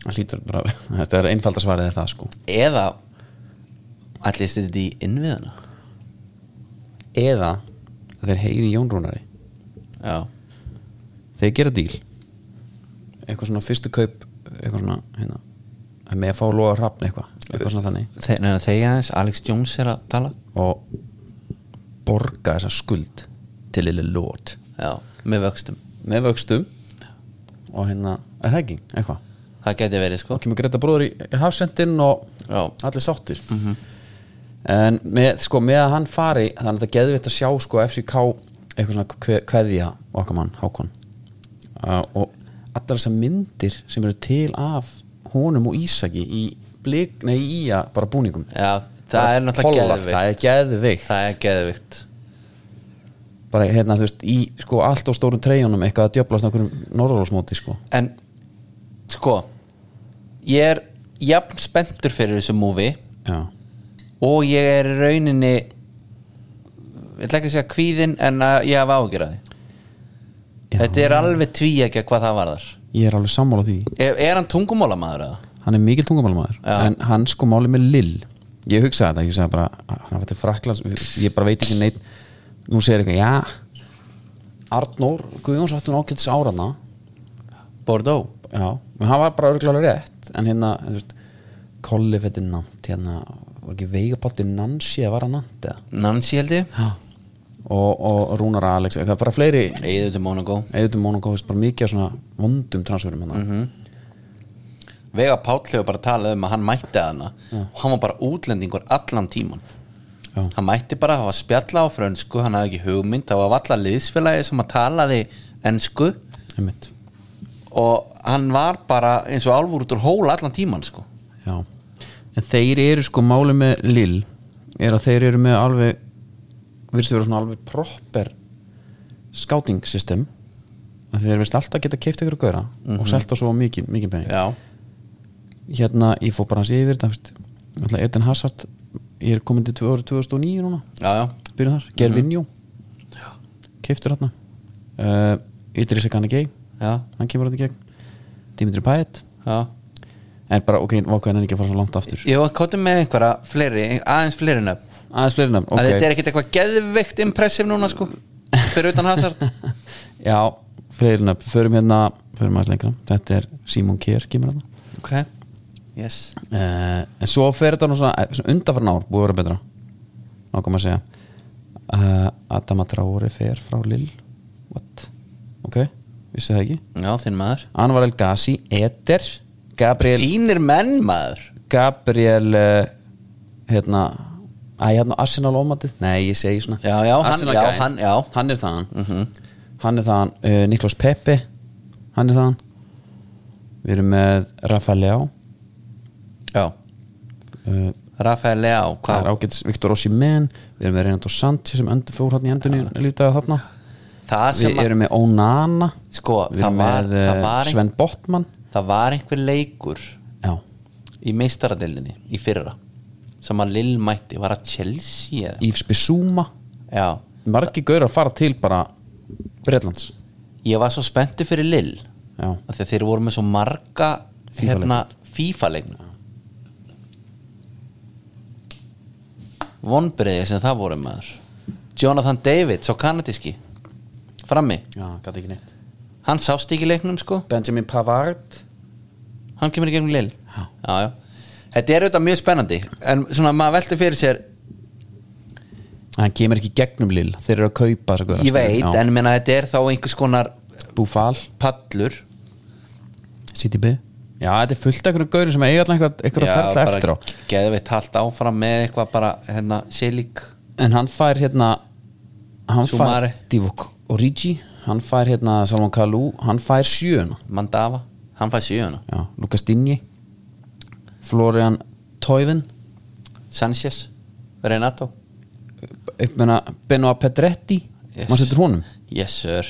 það hlýtur bara þetta er einfalda svarið er [LAUGHS] það sko
eða ætla ég stið þetta í innviðana
eða að þeir heyri Jón Rúnari
já,
þeir gera díl eitthvað svona fyrstu kaup eitthvað svona hérna að með að fá loga hrafn eitthvað eitthvað svona þannig
Þe, neina, þegar aðeins Alex Jones er að tala
og borga þessa skuld til lille lót
já, með vöxtum
með vöxtum og hérna er það ekki eitthvað
það geti verið sko
og kemur greita bróður í, í hafsendin og
Já. Mhm.
allir sáttir en með, sko, með að hann fari þannig að það geðvitt að sjá sko, FCK eitthvað svona kve- kveðja okkar mann, Hákon uh, og allar þessar myndir sem eru til af honum og Ísaki í blik, nei í að bara búningum
já, það er náttúrulega
Pollar,
geðvikt
það er geðvikt
það er geðvikt
bara hérna þú veist í sko allt og stórum treyjunum eitthvað að djöflast okkur norðurlósmóti sko
en sko ég er jafn spenntur fyrir þessu múfi
já,
og ég er í rauninni ég ætla ekki að segja kvíðin en að ég hafa ágjur að því
já
þetta er alveg tví ekki hvað það varðar
ég er alveg sammála því
er, er hann tungumólamæður eða?
hann er mikil tungumálmaður
Já.
en hann sko máli með Lill ég hugsaði þetta, ég hugsaði bara hann var til Fraklands, ég bara veit ekki neitt nú segir eitthvað, já Arnór Guðjóns átti hún ágætis árana
Bordeaux
já, en hann var bara örglálega rétt en hérna, þú veist Kolli fætti nátt, hérna var ekki veigapátti Nansi að vara nátt eða
Nancy held ég
já og, og Rúnar Alex, það er bara fleiri
Eður til Monaco
eðutum Monaco, þú veist, bara mikið af svona vondum transferum hérna. hann
Mhm. Vega Páll hefur bara talað um að hann mætti að hana og hann var bara útlendingur allan tíman
Já.
hann mætti bara að hafa spjalla á frönsku hann hafði ekki hugmynd, það var valla liðsfélagi sem að talaði ensku
einmitt,
og hann var bara eins og álfur út úr hóla allan tíman sko
Já, en þeir eru sko máli með Lill er að þeir eru með alveg virðist vera svona alveg proper scouting system að þeir virðist alltaf geta keift ykkur að gauðra og selta svo mikið, mikið penning
Mhm. Já,
hérna, ég fór bara hans yfir þetta, þú veist, náttúrulega Eden Hazard ég er komin til tvö- árið 2009 núna
já, já
byrjuð
Mhm.
þar, Gervinjó keiftur hérna uh, Idris Ekanagei,
Já,
hann kemur hérna í gegn Dimitri Payet
já
en bara, ok, vákvæðan er ekki að fara svo langt aftur
Ég var kóttum með einhverja fleiri, aðeins fleiri nöfn
aðeins fleiri nöfn,
að
ok
Þetta er ekkit eitthvað geðveikt impressiv núna sko Fyrir utan
[LAUGHS]
Hazard
Já, fleiri nöfn, förum hérna förum aðeins lengra, þetta er Simon Kier kemur hérna
Ok, yes Eh,
uh, en svo fer þetta nú svona, eh, svona undanfarn ár, búið að vera betra nákvæm að segja uh, Adama Traore fer frá Lill what, ok vissi það ekki,
Já, þinn maður
Anwar El Gassi Eder, Gabriel
Þínir menn maður
Gabriel uh, hérna Æ, hérna Arsenal ómatið, nei ég segi svona
Já, já, hann-
Arsenal
já,
gæinn.
hann- já.
Hann er þaðan Hann er þaðan, uh, Niklas Pepe Hann er þaðan Við erum með Rafa Leá
Já,
uh,
Rafael Leao
Það er
hvað?
ágætis Viktor Ossimen Við erum með Reynando Santi sem endur fór hann í endunni lítið þarna
Það sem
Við
að,
erum með Onana
sko,
Við
það
erum
var,
með
það,
eh,
var ein,
Sven Botman
það var einhver leikur
Já,
í meistaradildinni í fyrra sem að Lill mætti, var að Chelsea eða?
Yves Bissúma
Já,
Margi gaur að fara til bara Bretlands
ég var svo spennti fyrir Lill
Já,
af því að þeir voru með svo marga hérna, FIFA-leikna vonbreiði sem það voru maður Jonathan David, svo kanadíski frammi,
Já gæti ekki neitt
hann sást ekki í leiknum sko,
Benjamin Pavard
hann kemur í gegnum lill já. Já, þetta er auðvitað mjög spennandi en svona maður velti fyrir sér
hann kemur ekki í gegnum Lill þeir eru að kaupa þessa góðra
ég veit, en ég meina þetta er þá einhvers konar
Búfal,
pallur
CTB já, þetta er fullt af einhverjum góður sem eiga alltaf eitthvað, eitthvað að ferla eftir á
geðum við talt áfram með eitthvað bara, hérna, Selig
en hann fær hérna hann
Sumari.
fær Divock Origi hann fær hérna Salman Kalou hann fær sjöuna
Mandava, hann fæði sjöuna
já, Lucas Digne Florian Toivin
Sanchez, Renato
meina, Benoit Pedretti
Yes.
maður setur honum
Yes sir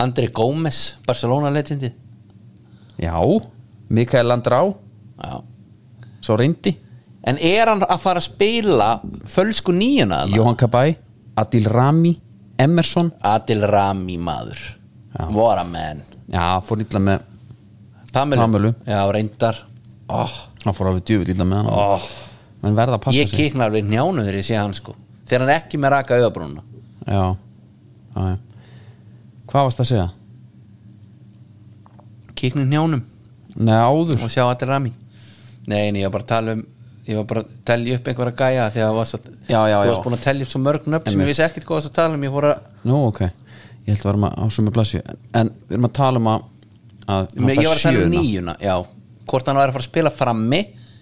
Andri Gómez, Barcelona legendi
Já, Mikael Landrá
Já.
Svo reyndi
En er hann að fara að spila fölsku nýjuna? þarna?
Johan Kabay, Adil Rami Emerson
Adil Rami maður
Já.
What a man
Já, fór illa með
Pamilu,
Pamelu.
Já, reyndar oh,
Hann fór alveg djöfull illa með hann oh. Menn verða að passa
Ég kikna alveg njánum þegar ég sé hann sko Þegar hann er ekki með raka auðabrúnuna
sig Já, já, já Hvað varst að segja?
Kikna njánum
Nei, áður
og sjá Adil Rami Nei, nei, ég var bara að tala um Ég var bara að telja upp einhverja gæja Þegar það var svo
Já, já,
Þú
já.
varst búin að telja upp svo mörg nöfn sem
Einmitt.
ég vissi ekkert hvað það að tala um Ég fór að
Nú, ok Ég held að varum á sumu blasju en, en við erum að tala um að, að
Ég var að tala um nýjuna, já Hvort hann var að fara að spila frammi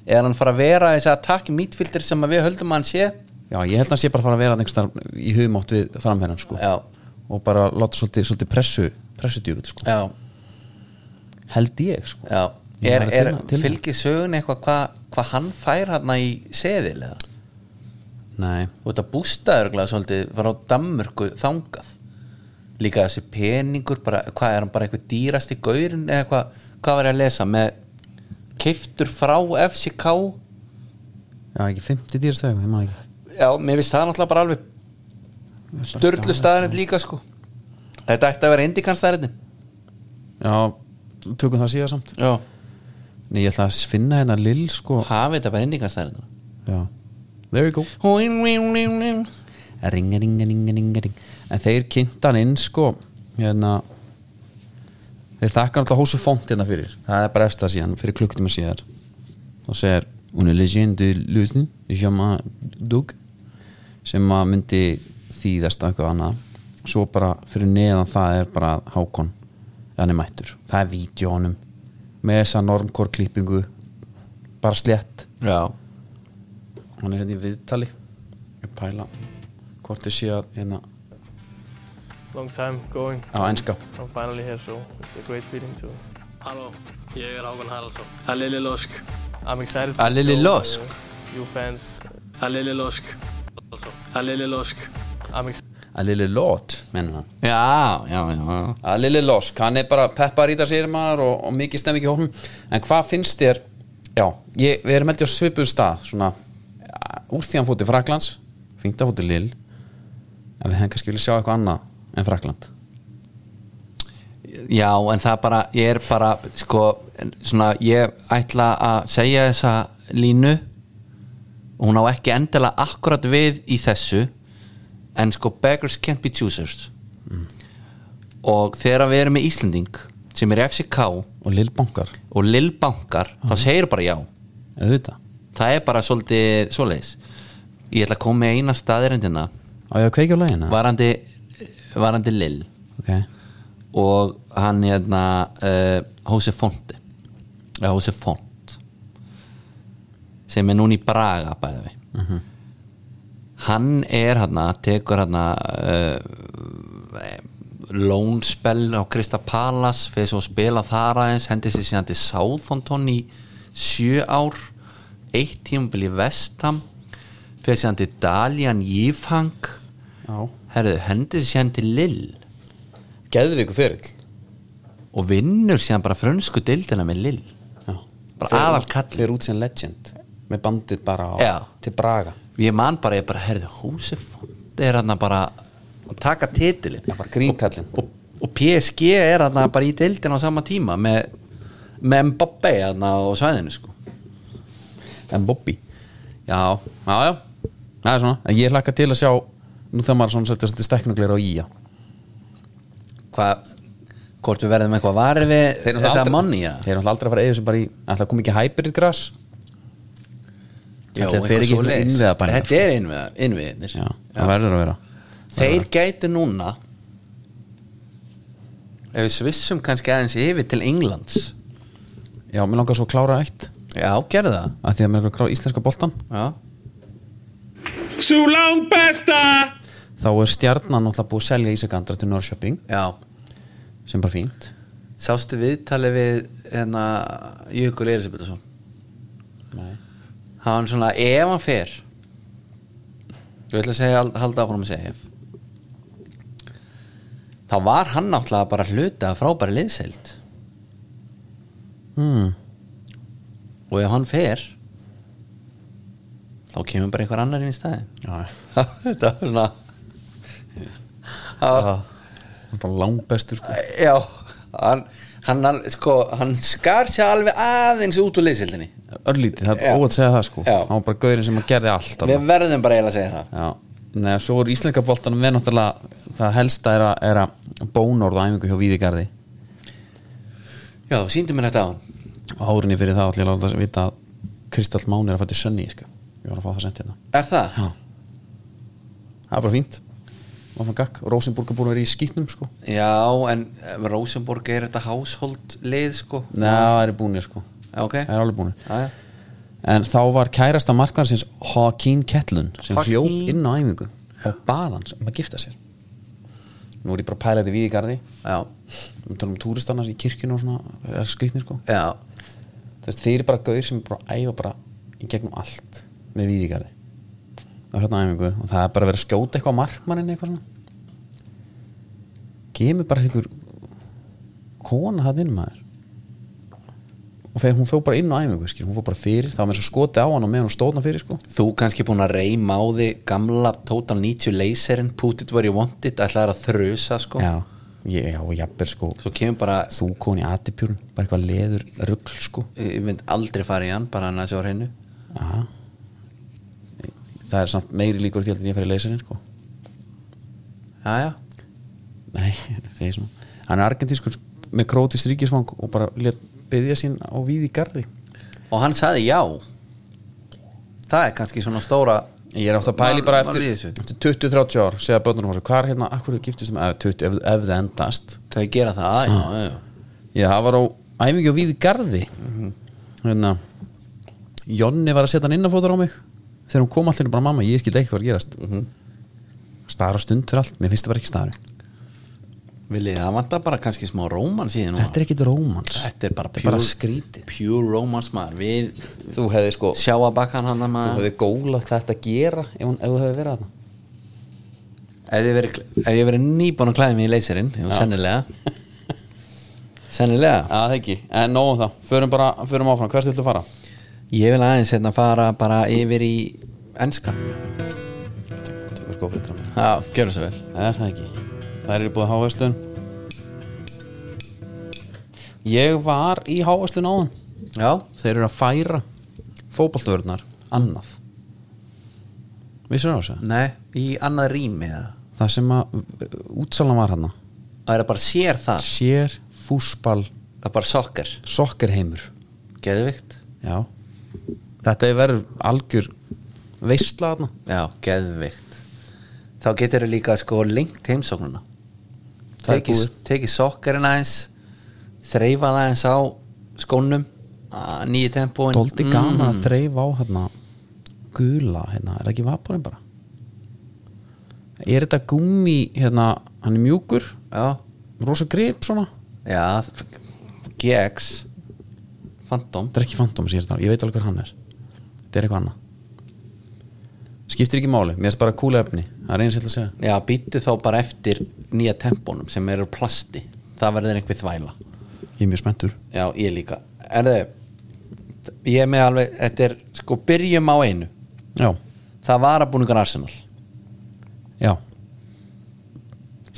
Eða hann fara að vera þessi að takki mítfildir sem að við höldum að hann sé
Já, ég held að hann sé bara að fara að vera einhvers þar í hugmátt við framherran sko.
Já,
og bara láta svolítið, svolítið pressu pressudjúvel, sko.
já,
held ég sko.
já
Ég
Er,
var að
er
tilna- tilna.
fylgið sögun eitthvað hvað hva hann fær hann í seðil eða?
Nei,
Þú veit að bústaðurglega svolítið var á Danmörku þangað Líka þessi peningur bara, hvað er hann bara eitthvað dýrasti gaurin eða hvað, hvað var ég að lesa með keiftur frá FCK
það er ekki 50 dýrast þegar, ég maður ekki
Já, mér finnst það náttúrulega bara alveg Sturlu staðarind líka sko Þetta ætti að vera indikans staðarindin
Já, tökum það síðan samt
Já
Nei, ég ætla að finna hérna Lill sko.
Hafið þetta bara indikans staðarindin
Já, there you go Ringa, ringa, ringa, ringa, ringa En þeir kynnta hann inn sko, hérna Þeir þakka alltaf hósu fónt hérna fyrir Það er bara eftir það síðan, fyrir klukktíma síðar Þá segir Hún er legendu lutn Jama Dug Sem að myndi þýðast að eitthvað annað Svo bara fyrir neðan það er bara Hákon Hann er mættur, það er vídjónum Með þessa normkor klippingu Bara slétt
Já
Hann er hérna í viðtali Ég pæla hvort þið sé að hérna
long time going.
Á enska
I'm finally here, so it's a great feeling too.
Halló, ég er Águn Haraldsson. Hallili Lósk.
I'm excited.
A little
show,
lost.
uh, you fans.
Hallili Lósk. Hallili Lósk.
I'm ex-
A little lot, mennum hann
Já, já, já
A little losk, hann er bara peppar í það sér maður og, og mikið stemmi ekki hófum En hvað finnst þér Já, ég, við erum held ég á svipuð stað Svona, ja, úr því hann fótið Fraklands Fyngt að fótið Lill En við hefum kannski vilja sjá eitthvað annað en Frakland
Já, en það bara, ég er bara sko, en svona, ég ætla að segja þessa línu og hún á ekki endilega akkurat við í þessu en sko, beggars can't be choosers og þegar við erum með Íslending sem er FCK
Og Lill bankar,
og Lill Bankar þá segir bara já,
eða þetta
það er bara svolítið svoleiðis ég ætla að koma með eina staðirendina
Á ég að kveikja á lægina?
varandi, varandi Lill
Ok,
og hann hérna uh, Hose Fonti eða Hose Font sem er núna í Braga bæði við hann er hérna tekur hérna uh, lónspell á Krista Palace fyrir svo að spila þar aðeins hendi sér síðan til Southampton í sjö ár eitt tímabil í Vestham fyrir síðan til Dalian Yifang
já
herðu hendi sér síðan til Lill
Geðvíku fyrirl
og vinnur síðan bara frönsku deildina með Lill bara aðal kall
Fyrir út sem legend Með bandið bara á,
Já.
til Braga
ég man bara, ég bara herði Húsefond er hann bara að taka titilin
Já, bara grínkallinn
og, og PSG er hann bara í deildina á sama tíma með, með Mbappé hann á svæðinu sko
en Bobby já, já, já, það er svona en ég hlakka til að sjá, nú þegar maður svona setja svolítið stekknugleir á ía
hvað, hvort við verðum eitthvað varið við þessa manni ja.
þeir eru náttúrulega aldrei að fara eða sem bara í ætla að koma ekki hybrid grass Ætli þeir fer ekki í innviða bara
þetta er innviða, innviðinir
já, það verður að vera
þeir gætu núna ef við svissum kannski aðeins yfir til Englands
já, mér langar svo að klára eitt
já, gerðu það
að því að mér langar að klára íslenska boltan
Já,
Sú langt besta
þá er stjarnan náttúrulega búið að selja Ísakandra til Norrköping
já
sem bara fínt
Sástu viðtalið við hérna Jökul Elisabethsson
Nei.
Það var svona ef hann fer Ég ætla að segja, halda áfram að segja ef þá var hann náttúrulega bara hluti af frábæri liðseild
hmm.
og ef hann fer þá kemur bara einhver annar inn í staði
Já,
[LAUGHS] þetta er svona
það er bara langbestur sko.
já hann, hann, hann, sko, hann skar sér alveg aðeins út úr liðseildinni
örlítið, það
Já.
er óvægt að segja það sko
Já.
hann var bara gaurinn sem að gerði allt þarna.
við verðum bara eiginlega að segja það
Já, neða, svo er íslenska boltanum við náttúrulega það helsta er að, er að bónorða æfingu hjá Víðigarði
já, síndum mér þetta á hann
og árinni fyrir það allir láta að vita að Kristall Máni er að fætti sönni sko. ég var að fá það sent hérna
er það?
Já. það er bara fínt og svona gakk, Rósinburg er búin að vera í skýtnum sko.
já, en eh, Rosenborg er þetta household lið sko
neða, það er búinir sko.
Já, ok
það er alveg búinir
Já, já.
en þá var kærasta markmannsins Hakeem Kettlun sem
Hakeem.
hljóp inn á æfingu og bað hans um að gifta sér nú er ég bara að pæla þetta við í garði
já,
við tölum um túristannars í kirkjun og svona það er skrýtnir sko
já,
þess þeir eru bara gaur sem er bara að æfa bara í gegnum allt með við í garði og hérna á æfingu og það er bara að vera að skjóta eitthvað á markmannin eitthvað svona kemur bara einhver kona það inn maður og þegar hún fór bara inn á æfingu skil, hún fór bara fyrir, það var með svo skoti á hann og með hún stóðna fyrir sko
þú kannski búin að reyma á því gamla Total 90 laserinn Put it where you want it, ætlaðir að þrjusa sko,
já, ég, já, og jafnir sko
svo kemur bara
þú koni aðtipjúrun, bara eitthvað leður rugl sko,
ég mynd aldrei fara í hann, bara hann að sjá hreinu
já það er samt meiri líkur því heldur en ég fer í leysinni sko
já, já,
[LAUGHS] Nei, segi svona Hann er argentískur með krótist ríkisvang og bara let byggja sín á víð í garði
og hann saði já það er kannski svona stóra
Ég er átt að pæli bara
Var- var
eftir,
við þessu?
eftir 20-30 ár segja bönnur hans, hvað er hérna, akkur er giftist með eða 20, ef, ef það endast
þau gera það,
Ah.
já, já,
Ég það var á æfingi á víð í garði hérna Jonni var að setja hann innanfótur á mig þegar hún kom allir bara mamma, ég skildi ekki hvað er að gerast mm -hmm. Stara stund fyrir allt, mér finnst það bara ekki stara
viljið, það vantar bara kannski smá rómans í því núna
Þetta er ekkit rómans
þetta er bara
Þetta er bara
pure,
skrítið.
pure romans maður við
Þú hefði sko,
sjá að bakka hann hann
þú
maður
hefði gólað hvað þetta gera ef, hún, ef þú hefði verið þarna
ef ég verið, ef ég verið nýbúin að klæða mig í leyserinn sennilega sennilega
Já, það ekki, en nóg um það, förum bara förum áfram, hvers viltu fara?
ég vil aðeins hérna fara bara yfir í enska
Tökum sko fyrir trámi
já, gjör þess að vel
Það er það ekki, það eru búið hávæslun Ég var í hávæslun áðan
já,
Þeir eru að færa fótboltavörðnar annað Vissur það á þessu?
nei, í annað rými eða?
Það sem að uh, útsalan var hana
það er bara sér það
Sér, fúsbal,
það er bara sokkar,
sokkerheimur
geðvikt
Já Þetta er verið algjör veistla hana
já, geðvikt þá getur þau líka sko lengt heimsóknuna
Það er
tekið
búið.
teki sokkarinn aðeins þreifað aðeins á skónum nýju tempóin Mm.
Tóldi gaman að þreif á hérna gula hérna, er það ekki vaporinn bara? Er þetta gummi hérna, hann er mjúkur
já,
rosa grip svona?
já f- GX Phantom
Þetta er ekki Phantom sér þetta, ég veit alveg hver hann er Þetta er eitthvað annað Skiptir ekki máli, mér er bara kúla efni Það er eins ég ætla að segja
já, býttu þá bara eftir nýja tempónum sem eru úr plasti það verður einhver þvæla
Ég er mjög spenntur
já, ég líka er ég er með alveg, þetta er sko byrjum á einu
Já,
það var að búningar Arsenal
já,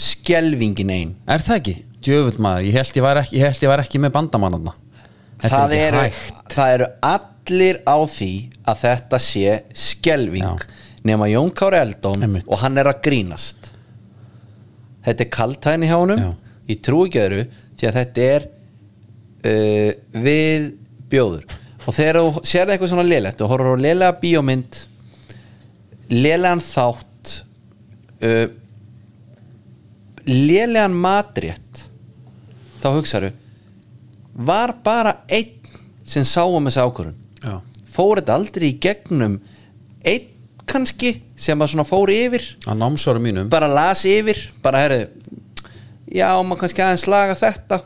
skelvingin ein
er það ekki? Djöfull maður, ég held ég var ekki, ég held ég var ekki með bandamannarna Þetta
það
er
eru,
ekki hægt
það eru allir á því að þetta sé skelving
Já.
nema Jón Kári Eldón
Einmitt.
og hann er að grínast þetta er kaltæðin í hjá honum
Já.
ég trúi ekki öðru því að þetta er uh, við bjóður og þegar þú sér eitthvað svona lélegt og horfður á lélega bíómynd lélegan þátt uh, lélegan matrétt þá hugsaðu var bara einn sem sá um þessi ákvörun
Já,
fór þetta aldrei í gegnum einn kannski sem að svona fór yfir
á námsvarum mínum
bara las yfir, bara herðu já, maður kannski aðeins laga þetta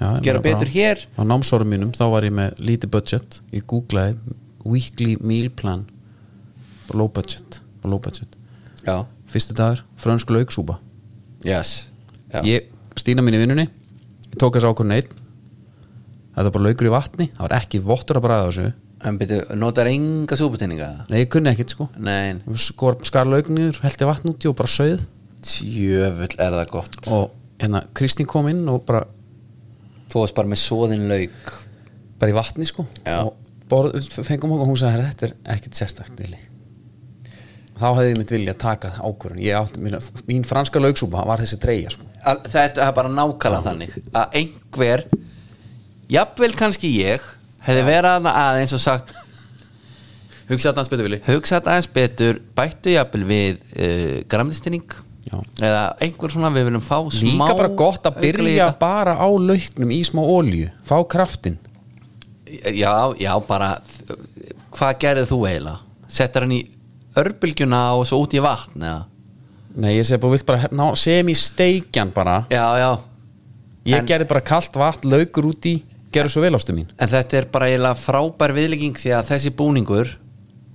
Já, ég
gera
meina bara-
betur hér
á námsárum mínum þá var ég með lítið budget ég googlaði weekly meal plan bara low budget, bara low budget.
já,
fyrsti dagur, frönsku lauksúpa
yes Já.
ég stína mín í vinnunni ég tók þessu ákvörðin einn þetta var bara laukur í vatni það var ekki vottur að bræða þessu
En byrju, notar enga súputinninga?
nei, ég kunni ekkit sko
Nein,
skor, skar laugnir, held ég vatn úti og bara sögð
tjöfull er það gott
og hérna Kristín kom inn og bara,
Þú varst bara með soðin lauk
bara í vatni sko
Já.
og borð, fengum okkur og hún sagði "Herra, þetta er ekkit sérstakt vili þá hefði ég mitt vilja að taka ákvörðin ég átti, mín, mín franska laugsúpa var þessi treyja sko
Al- Þetta er bara nákvæmlega þannig að einhver jafnvel kannski ég hefði verið aðna aðeins og sagt
hugsa þetta hans betur vili
hugsa þetta aðeins betur, bættu jafnvel við uh, gramlistinning
Já.
eða einhver svona við viljum fá smá
líka bara gott að byrja
aukalega-
bara á lauknum í smá olju, fá kraftin
Já, já, bara hvað gerðið þú eiginlega? Settar hann í örbylgjuna og svo út í vatn eða?
nei ég segi bara, vilt bara ná, sem í steikjan bara
Já, já,
ég
En-
gerði bara kalt vatn, laukur út í gerðu svo vel ástu mín,
en þetta er bara eiginlega frábær viðlegging því að þessi búningur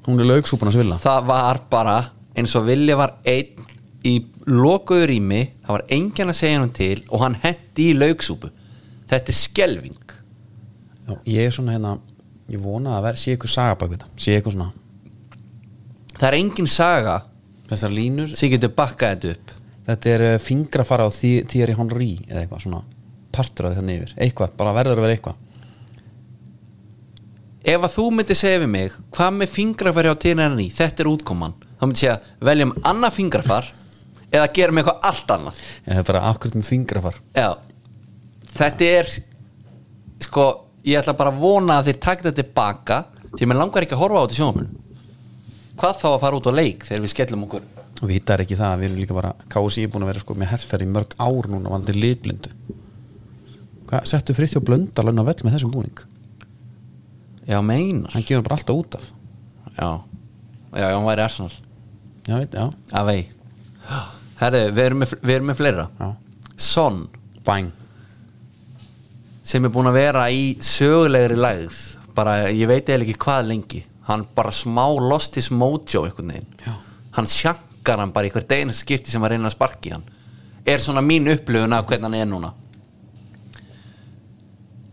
hún er lauksúpunas vilja
það var bara eins og Vilja var einn í lokuðu rými það var enginn að segja hann til og hann hendi í lauksúpu þetta er skelving
Já, ég er svona hérna ég vona að það verð, sé ykkur saga bak við þetta sé ykkur svona
það er engin saga
þessar línur
sem getur bakkað þetta upp
þetta er eh, fingrafara á Thierry Henry eða eitthvað svona partur af þetta yfir eitthvað, bara verður að vera eitthvað
ef að þú myndir segja við mig hvað með fingrafari á tíðan í, þetta er útkoman þá myndir segja, veljum annað fingrafar eða gerum eitthvað allt annað
ég hef bara akkurat um fingrafar
já, þetta er sko, ég ætla bara að vona að þeir takta þetta tilbaka því mér langar ekki að horfa á þetta sjónum hvað þá að fara út á leik þegar við skellum okkur
og vitar ekki það, við erum líka bara KSI er búin að vera sko með herrferð í mörg ár núna vandir litblindu hvað, settu Friðjó Blöndal inn á vell með þessum búning
já, meinar
hann gefur bara alltaf út af
já, já, já, hann væri Arsenal
já, veit, já,
að vei herri, við erum með, við erum með fleira
já,
Son,
bæn
sem er búin að vera í sögulegri lægð bara, ég veit eða ekki hvað lengi hann bara smá lost his mojo einhvern veginn
Já.
hann sjankar hann bara í hver deginn skipti sem að reyna að sparki hann er svona mín upplöfun af hvernig hann er núna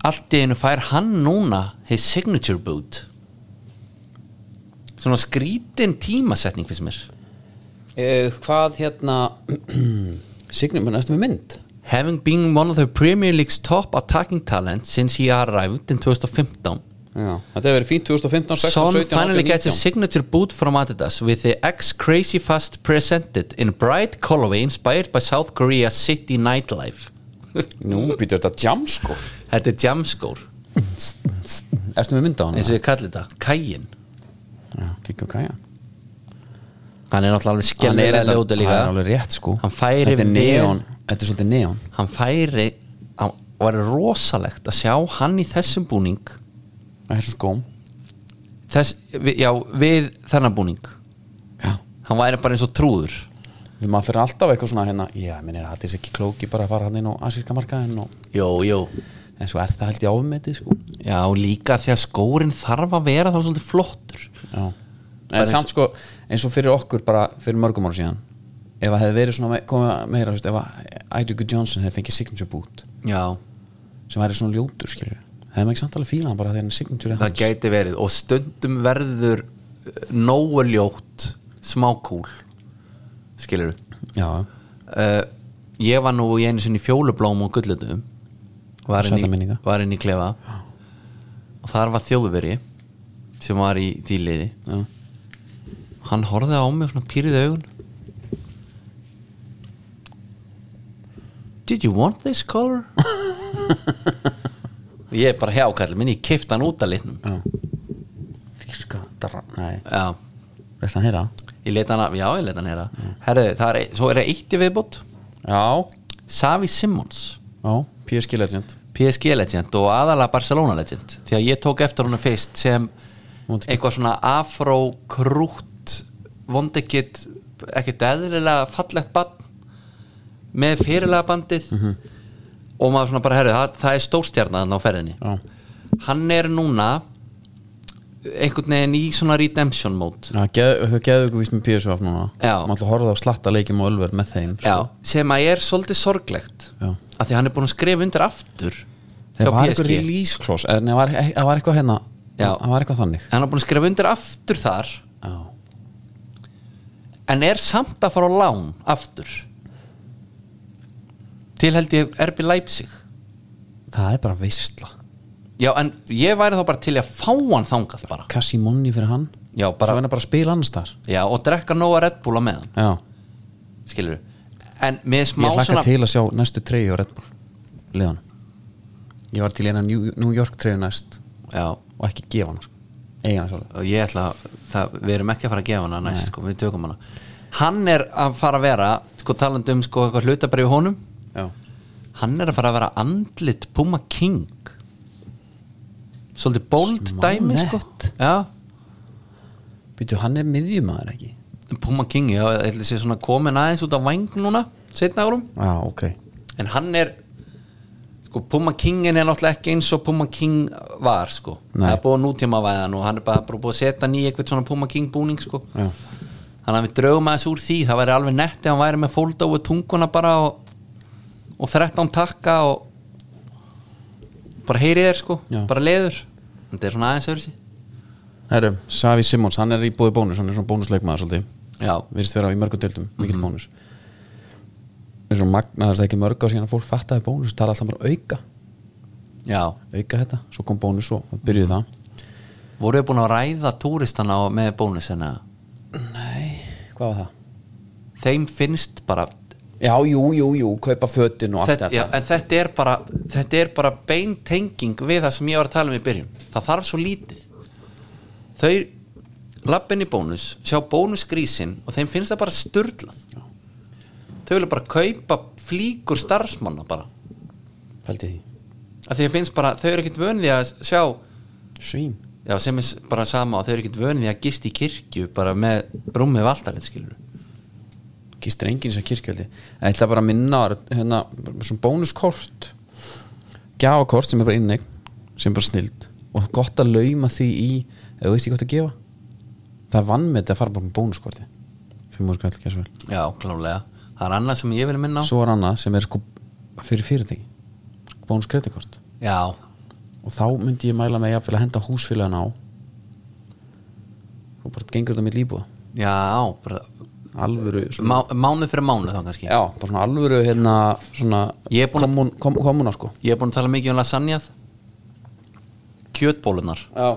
allt í einu fær hann núna his signature boot svona skrítin tímasetning finnst mér
uh, hvað hérna [CLEARS THROAT] Signum, menn, erstu með mynd?
Having been one of the Premier League's top attacking talent since he arrived in 2015
Já, þetta hefur verið fínt 2015, 16,
Son
17,
finally
18,
gets his
19
signature boot from Adidas with the X Crazy Fast presented in bright colorway inspired by South Korea's city nightlife
Nú býtur þetta jam sko
Þetta er jamskór,
Ertu með mynd á hana?
eins og við kallum þetta Kæin,
Já, kíkjum kæja
hann er náttúrulega alveg skellilega ljóta líka
Hann er alveg rétt sko
Hann færi
Þetta er
vel-
neon Þetta er svolítið neon
Hann færi, hann var rosalegt að sjá hann í þessum búning
Það er svo skóm
þess, við, Já, við þennan búning
Já
Hann væri bara eins og trúður
Við maður fyrir alltaf eitthvað svona hérna Já, minn er þetta er ekki klóki bara að fara hann inn á asíska markaðin og
Jó, jó
En svo er það held ég ofmetið sko
Já, líka því að skórin þarf að vera þá svolítið flottur
Já
Bara
En samt sko eins og fyrir okkur bara fyrir mörgum ára síðan Ef það hefði verið svona me- komið meira þú veist, Ef að Idrigu Johnson hefði fengið signature boot
Já,
sem væri svona ljótur skilur hefði maður ekki samt alveg fíla hann bara þegar hann er signature
það gæti verið og stundum verður eh, nógu ljótt smákúl skilur
Já,
uh, ég var nú í einu sinni í fjólublóm og gullutum var inn
Sætar
í,
minningar.
var inn í klefa og þar var þjófuveri sem var í því liði
já,
hann horfði á mig svona pýrið augun Did you want this color? ég er bara hjákallið minn, ég kifta hann út af litnum
já Físka, dra, nei
já
Veist hann heyra?
Ég leta hana, já ég leta hana hérna Herðu, það er, svo er það eitt í viðbútt
Já,
Savi Simmons
já, PSG legend
PSG legend og aðalega Barcelona legend Því að ég tók eftir honum fyrst sem
Vondi kall.
eitthvað svona afró krútt vond ekkit ekkit eðlilega fallegt bann með fyrirlega bandið og maður svona bara herðu það, það er stórstjarnan á ferðinni
Já,
hann er núna einhvern veginn í svona redemption mode
Það geðu ykkur víst með PSV af núna
Já.
Má alltaf horfa á slatta leikjum og ölver með þeim sko.
Já, sem að er svolítið sorglegt
Já.
að því hann er búin að skrifa undir aftur hjá
Það var
PSG.
eitthvað release clause eða nei, það var, það var eitthvað hérna
Já.
Það var eitthvað þannig
hann er búin að skrifa undir aftur þar
Já,
en er samt að fara á lán aftur til held ég RB Leipzig
það er bara veistla
já en ég væri þá bara til í að fá hann þangað bara
Kassi Monni fyrir hann
já,
Svo
bara,
hennar bara að spila annars þar
já og drekka nóga Red Bull á meðan
Já,
skilur en með smá
ég hlakka
svona
til að sjá næstu treyju á Red Bull Leðan Ég var til í eina New, New York treyju næst
já
og ekki gefa hann Eiga hann svolítið
og ég ætla að það, við erum ekki að fara að gefa hana næst sko, við tökum hana hann er að fara að vera sko talandi um sko eitthvað hlutabrið honum
Já,
hann er að fara að vera andlit Puma King svolítið bold
Smá
dæmi sko
nett.
já
býtu hann er miðjumæður ekki
Puma King, já, ég ætla að sé svona komin aðeins út á væng núna, setna árum
Já, ok
en hann er sko, Puma Kingin er náttúrulega ekki eins og Puma King var, sko
Nei.
það er búið að nútíma væðan og hann er bara, bara búið að setja hann í eitthvað svona Puma King búning, sko
Já,
þannig að við draugum aðeins úr því, það væri alveg netti hann væri með fólda úr tunguna bara og, og 13 takka og bara heyrið þér, sko,
Já.
bara leiður þetta er svona aðeins öðru sí
Herru, Savi Simons, hann er í bóði bónus hann er svona bónusleikmaður svolítið
já,
virðist vera í mörgum deildum, mikill bónus við erum magnaðast ekki mörg á síðan að fólk fattaði bónus, tala alltaf bara auka
já,
auka þetta, svo kom bónus og það byrjuði það
voru við búin að ræða túristana á- með bónusina
hvað var það?
þeim finnst bara
Já, jú, jú, jú, kaupa fötin og allt
þetta,
þetta
já, en þetta er bara þetta er bara beintenging við það sem ég var að tala um í byrjun það þarf svo lítið þau lappin í bónus sjá bónusgrísin og þeim finnst það bara sturlað þau vilja bara kaupa flíkur starfsmanna bara
Pældi því,
að því að finnst bara, þau eru ekkert vönið að sjá
svín
já, sem er s- bara sama og þau eru ekkert vönið að gist í kirkju bara með rúmið valdarið skilur
gistir enginn sem kirkjöldi en ég ætla bara að minna á hérna, svona bónuskort gjafakort sem er bara inneign sem er bara snild og gott að lauma því í ef þú veist ekki hvað að gefa það er vannmeti að fara bara með bónuskorti fimm úr skall, ekki svo vel
já, klálega, það er annað sem ég vil minna á
svo er annað sem er sko fyrir fyrirtæki bónuskredikort
já,
og þá myndi ég mæla með jafnvel að henda húsfélagin á og bara gengur þetta mitt líbúða
já, bara
alvöru svona,
Má, mánuð fyrir mánuð þá kannski
já, bara svona alvöru hérna svona
Ég er búinn að-
kommun, kom, kommuna sko
Ég er búin að tala mikið um lasagnað Kjötbólunar
já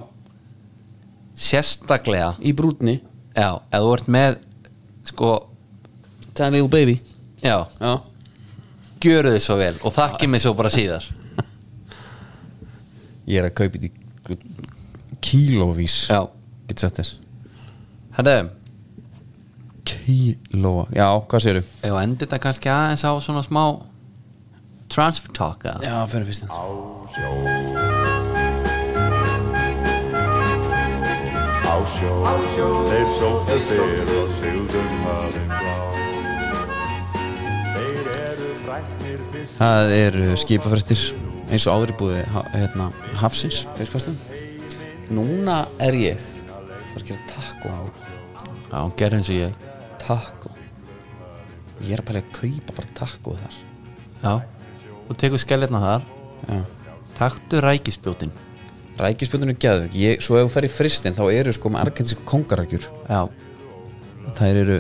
Sérstaklega
í brútni
Já, ef þú ert með Sko,
Tiny Little Baby
já,
já.
gjöru þið svo vel Og þakki mig svo bara síðar
ég er að kaupa því kílóvís
Já,
get sett þess
herðu
kílóa já, hvað séru?
Ef að endi þetta kannski aðeins á svona smá Transfer talk eða?
já, fyrir hérna. fyrstin
Á sjó, þeir sóttu sér og sigðum hafinn blá. Þeir eru fræknir fyrst
það eru skipafrættir eins og áður í búði ha- hérna, hafsins fiskfæslun núna er ég það er að gera taco á
Já, gerðu eins og ég
taco ég er að pæla í að kaupa bara taco þar
Já, þú tekur skelletna þar
Já.
Taktu rækispjótin
rækjuspjöndunum geðvik ég, svo ef hún fer í fristin þá eru sko með arkentísku kongarækjur
Já,
þær eru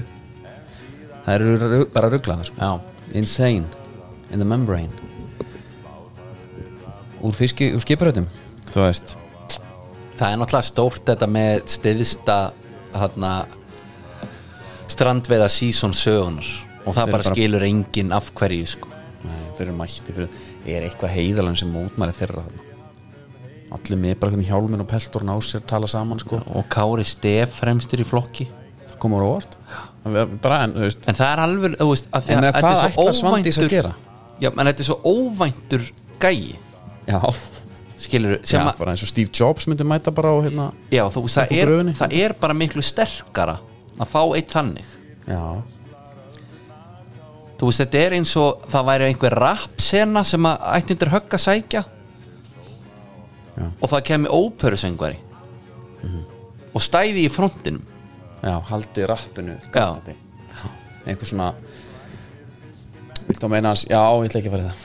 þær eru ru- bara rugglaðar sko.
já,
insane in the membrane úr fiski, úr skiparöðum þú veist
Það er náttúrulega stórt þetta með stiðsta hana, strandveiða season sögunar og það
Þeir
bara
bara-
skilur enginn af hverju sko.
Nei, þeir eru mætti fyrir, er eitthvað heiðalann sem mótmæri þeirra þarna allir með bara hvernig hjálminn og peltorn á sér tala saman sko,
og Kári Stef fremstur í flokki
það komur á orð bara en, þú veist
en það er alveg þú veist, að því
En
að
meina,
þetta
hvað
er svo
ætlar Svandís að
óvæntur-
gera?
Já, en þetta er svo óvæntur gæi
já,
skilur,
já
sem já, að
bara eins og Steve Jobs myndi mæta bara á hérna
já, þú,
upp
veist, það,
úr
er,
gröfinni.
það er bara miklu sterkara að fá eitt þannig
já,
þú veist þetta er eins og það væri einhver rapsena sem að ætti undir högg að sækja
Já.
og það kemur óperusöngvari og stæði í frontinum
Já, haldi rappinu
Já.
gangandi. Já. einhver svona Viltu að meina hans, já, ég ætla ekki að fara í það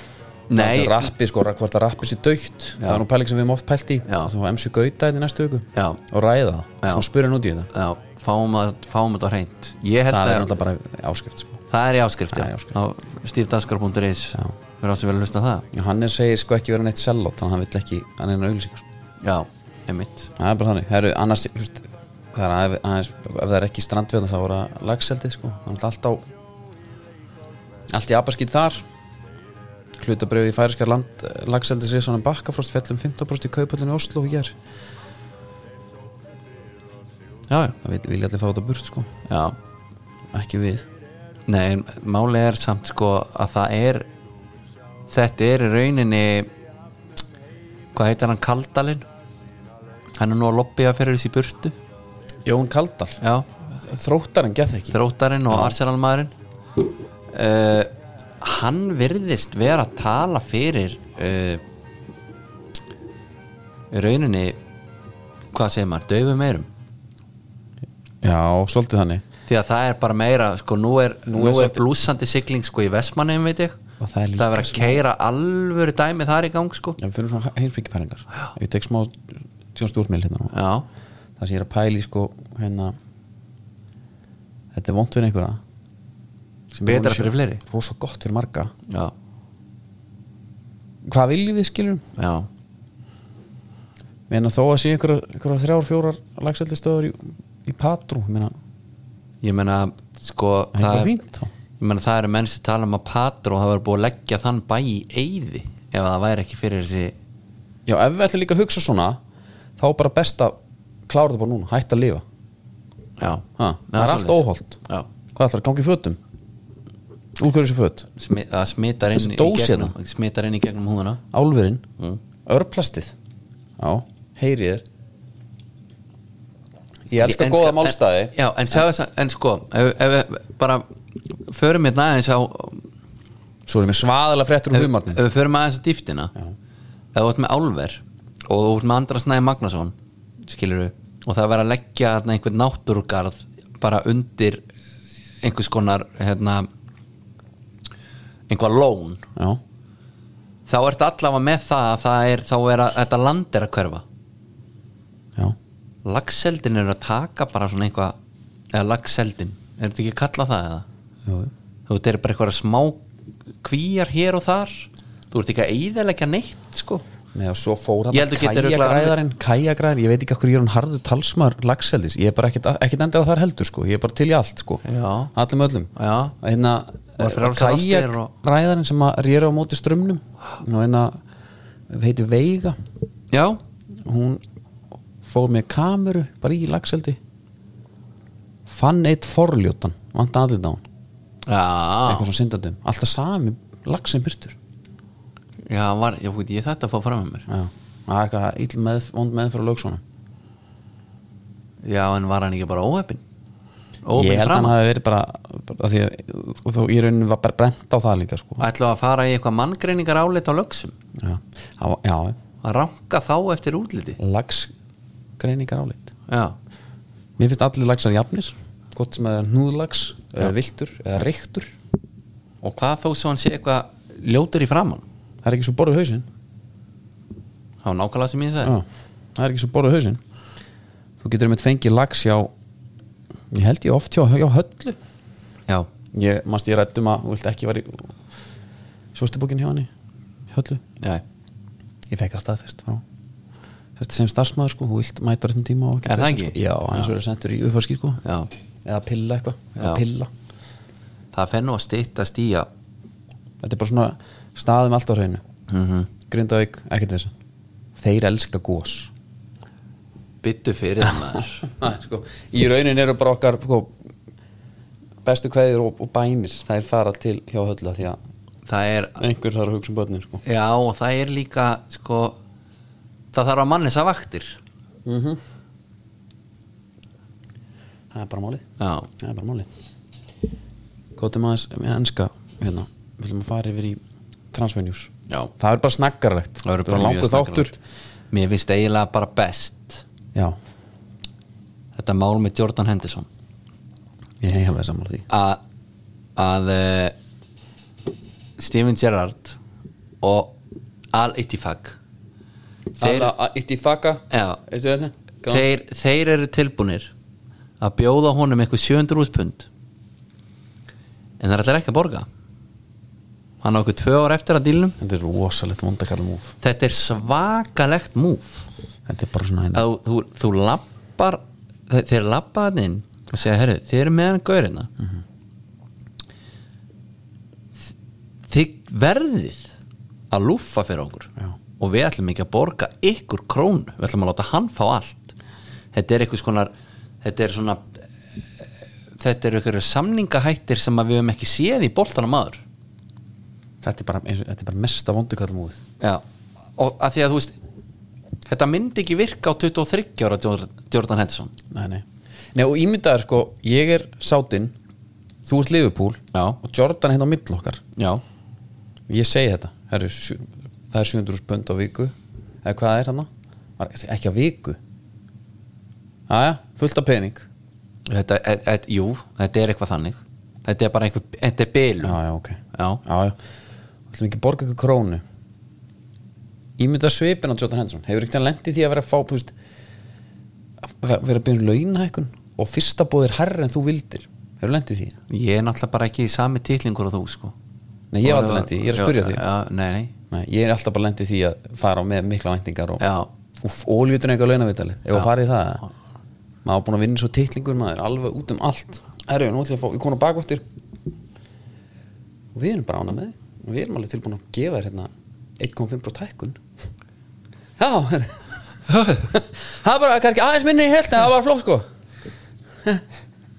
Nei,
Haldi Rappi, sko, hvort að rappi sér dautt Það er nú pæling sem við höfum oft pælt í
Já.
Þú emsu gauta þetta í næstu viku
Já.
Og ræða það,
Já.
og spurði hann út í þetta
já, fáum, að, fáum þetta á hreint Ég held
Það er
að
náttúrulega bara áskrift sko.
það er í áskrift,
Það er í
já.
áskrift.
á stífdaskar.is
Já.
Við erum átt sem vel að hlusta á það
Já, Hann er segir sko ekki vera neitt sellót Þannig að hann vill ekki, hann er einu auglýsing sko.
Já, einmitt
Það er bara þannig, Heru, annars þú veist, það er aðeins, aðeins, ef það er ekki strandveðna þá er það lagseldið sko, þannig allt á allt í abaskýt þar hlutabrjöf í færiskar land lagseldis risanum bakkafrost fellum 15% í kaupallinu Oslo og hér
Já, já,
það veit, vilja allir fá þetta burt sko,
já
ekki við
Nei, en málið er samt sko að það er þetta er í rauninni hvað heitir hann Kaldalinn hann er nú að lobbya fyrir þessi burtu
Jón Kaldal,
já,
þróttarinn get það ekki
þróttarinn og arsenalmaðurinn uh, hann virðist vera að tala fyrir uh, í rauninni hvað segir maður, döfum meirum
já, svolítið þannig
því að það er bara meira sko, nú er,
Nú
nú
er
er,
svolítið-
blúsandi sigling sko, í Vestmannheim veit ég
Og það er líka
verið að
smá-
keira alvöru dæmi þar í gang sko.
já, við fyrir svona heimsbyggi pælingar ég tek smá tjón stjórnmil hérna nú.
já,
það sem ég er að pæli sko hérna þetta er vont fyrir einhverja sem er
Betra
rosa-
fyrir fleiri.
rosa gott fyrir marga
já,
hvað viljum við skiljum?
já,
Ég meina þó að sé einhverja, einhverja þrjár, fjórar lagseldistöður í, í patrú ég meina,
ég meina sko,
það er bara
er,
fínt þá
ég meina, það eru menn sem tala um að Patro það verður búið að leggja þann bæ í eyði ef það væri ekki fyrir þessi
já, ef við ætlum líka að hugsa svona þá er bara best að klára þetta bara núna hætt að lifa,
já,
ha, það er allt
svoleiðis.
óholt
já,
hvað ætlar að gangi í fötum? úr hverju þessu föt?
Smi, það smitar inn,
Þessi
í
dós hérna.
gegnum, smitar inn í gegnum húðuna
álverin,
Mm.
örplastið já, heyrið þér ég elska
En
góða
sko-
málstæði
en, já, en, en, en sko, ef, ef við bara förum hérna aðeins á
svo erum við svaðalega fréttur um
ef,
humarni
ef við förum aðeins á dýftina ef þú ert með Álver og þú ert með Andra Snæði Magnason skilur og það verður að leggja þarna einhvern náttúrugarð bara undir einhvers konar hérna einhvað lón
já,
þá ertu allavega með það að það er þá er að þetta land er að hverfa
já,
lagseldin er að taka bara svona einhvað eða lagseldin, er þetta ekki að kalla það eða?
já, já.
þú veist, eru bara eitthvað smá kvíjar hér og þar þú ert ekki að eyðilegja neitt sko
Nei, og svo fór
Ég held
þetta
þú getur örugglega
kæjagræðarinn kæjagræðarinn, ég veit ekki okkur ég er hann harðu talsmar lagseldis, ég er bara ekkert ekkit endur að þar heldur sko, ég er bara til í allt sko
Já.
allum öllum
Já.
Og hérna,
Og frjálsar ástir og-
kæjagræðarinn sem að rýra á móti strömmnum og hérna, heiti Veiga
Já,
hún fór með kameru bara í lagseldi fann eitt forljótan vant aðlita á hún,
já,
eitthvað svona syndandum alltaf sami lagsin byrtur
já, hann var, já veit, ég þetta að fá fram með mér
já, það er eitthvað ill með, vond með fyrir lögsónum
Já, en var hann ekki bara óheppin
ég
Óheppin
held að hann
fram
hafi verið bara, bara af því að þó í rauninu var bara brent á það líka sko.
Ætlu að fara í eitthvað manngreiningar álit á lögsum
já, það var- já
að ranka þá eftir útliti
lagsgreiningar áleitt
Já,
mér finnst allir lagsar jafnir gott sem að núðlags, eða viltur eða reyktur,
og hvað þó svo hann sé eitthvað ljótur í framann
það er ekki svo borðið hausinn
Það var nákvæmlega sem ég sagði
Já, Ah, það er ekki svo borðið hausinn þú getur einmitt fengið lags hjá ég held ég oft hjá, hjá höllu
Já,
ég mannst ég rættum að þú vilt ekki var í svörstubókin hjá henni höllu,
já,
ég fekk það staðfest frá Sest sem starfsmaður sko, þú vilt mæta réttum tíma og ekki
Er það
þessum,
ekki?
Sko. Já, annars verður sendur í uppfarskir sko
já
eða pilla eitthvað, eða
Já.
pilla
Það fennu að styttast í að
þetta er bara svona staðum allt á hreinu
Mhm.
Grindavík, ekkert þess þeir elska gós
byttu fyrir þannig
Nei, sko, í raunin eru bara okkar sko, bestu kveðir og, og bænir það er fara til hjá höllu af því að
Það er
einhver þarf að hugsa um börnin sko.
Já, og það er líka sko, það þarf að mannlisa vaktir
það er bara málið
Já,
það er bara málið gotum aðeins með enska hérna, við viljum að fara yfir í transfer news
Já.
það er bara snakkarlegt
það verður
er
bara mjög
langur þáttur
snakkarlegt. Mér finnst eiginlega bara best
já,
þetta mál með Jordan Henderson
Ég hef alveg sammála því
að að eh, Steven Gerrard og Al Ittifaq þeir,
Alla, a- Itti Faka
já,
Veistu þetta? Gáðan.
þeir, þeir eru tilbúnir að bjóða honum eitthvað 700 úspund en það er allir ekki að borga hann á eitthvað tvö ár eftir að dílnum
Þetta er rosalegt vondakall múf
þetta er svakalegt múf
Þetta er bara svona hérna
að þú, þú lappar þe- þeir lappa hann inn og segja herru, þeir eru meðan gaurina mm -hmm. þið verðið að lúffa fyrir okkur
Já.
og við ætlum ekki að borga ykkur krón við ætlum að láta hann fá allt þetta er eitthvað skonar þetta er svona þetta eru ykkur samningahættir sem að við höfum ekki séð í boltanum aður
Þetta er bara, eins og- þetta er bara mesta vondakall múfið
Já, og að því að þú veist þetta myndi ekki virka á 23 ára Jordan Jordan Henderson
Nei, nei Nei, og ímyndaður sko Ég er sátinn Þú ert Liverpool
Já.
Og Jordan er hérna á milli okkar
Já,
Ég segi þetta Herru, sjö, Það er 700 pund á viku Eða hvað er hann Ekki á viku Jæja, fullt af pening
þetta, e, e, jú, þetta er eitthvað þannig þetta er bara einhver, þetta er bylum
Já, já, ok
Já.
já Þú ætlum ekki að borga ykkur krónu Ímynda svipin á Jordan Henderson Hefur ekkert hann lent í því að vera að fá þú veist, að vera vera að byrja um launahækkun og fyrsta bóðir herri en þú vildir Hefur lent í því?
ég er náttúrulega bara ekki í sami titlingur og þú sko
Nei, ég hef aldrei lent í, því, ég er að spyrja því
já, Nei, nei,
Nei, ég er alltaf bara lent í því að fara á með mikla væntingar og
já,
úf, ólíutur eitthvað launavitalið ef að
Já.
fara í það maður var búin að vinna svo titlingur maður alveg út um allt erfið, nú ætlum ég að fá, ég konu bakvættir og við erum bara ána með þig. og við erum alveg tilbúin að gefa þér hérna 1,5% hækkun já herri. [LAUGHS] það er bara kannski aðeins minni í helt en það var flott sko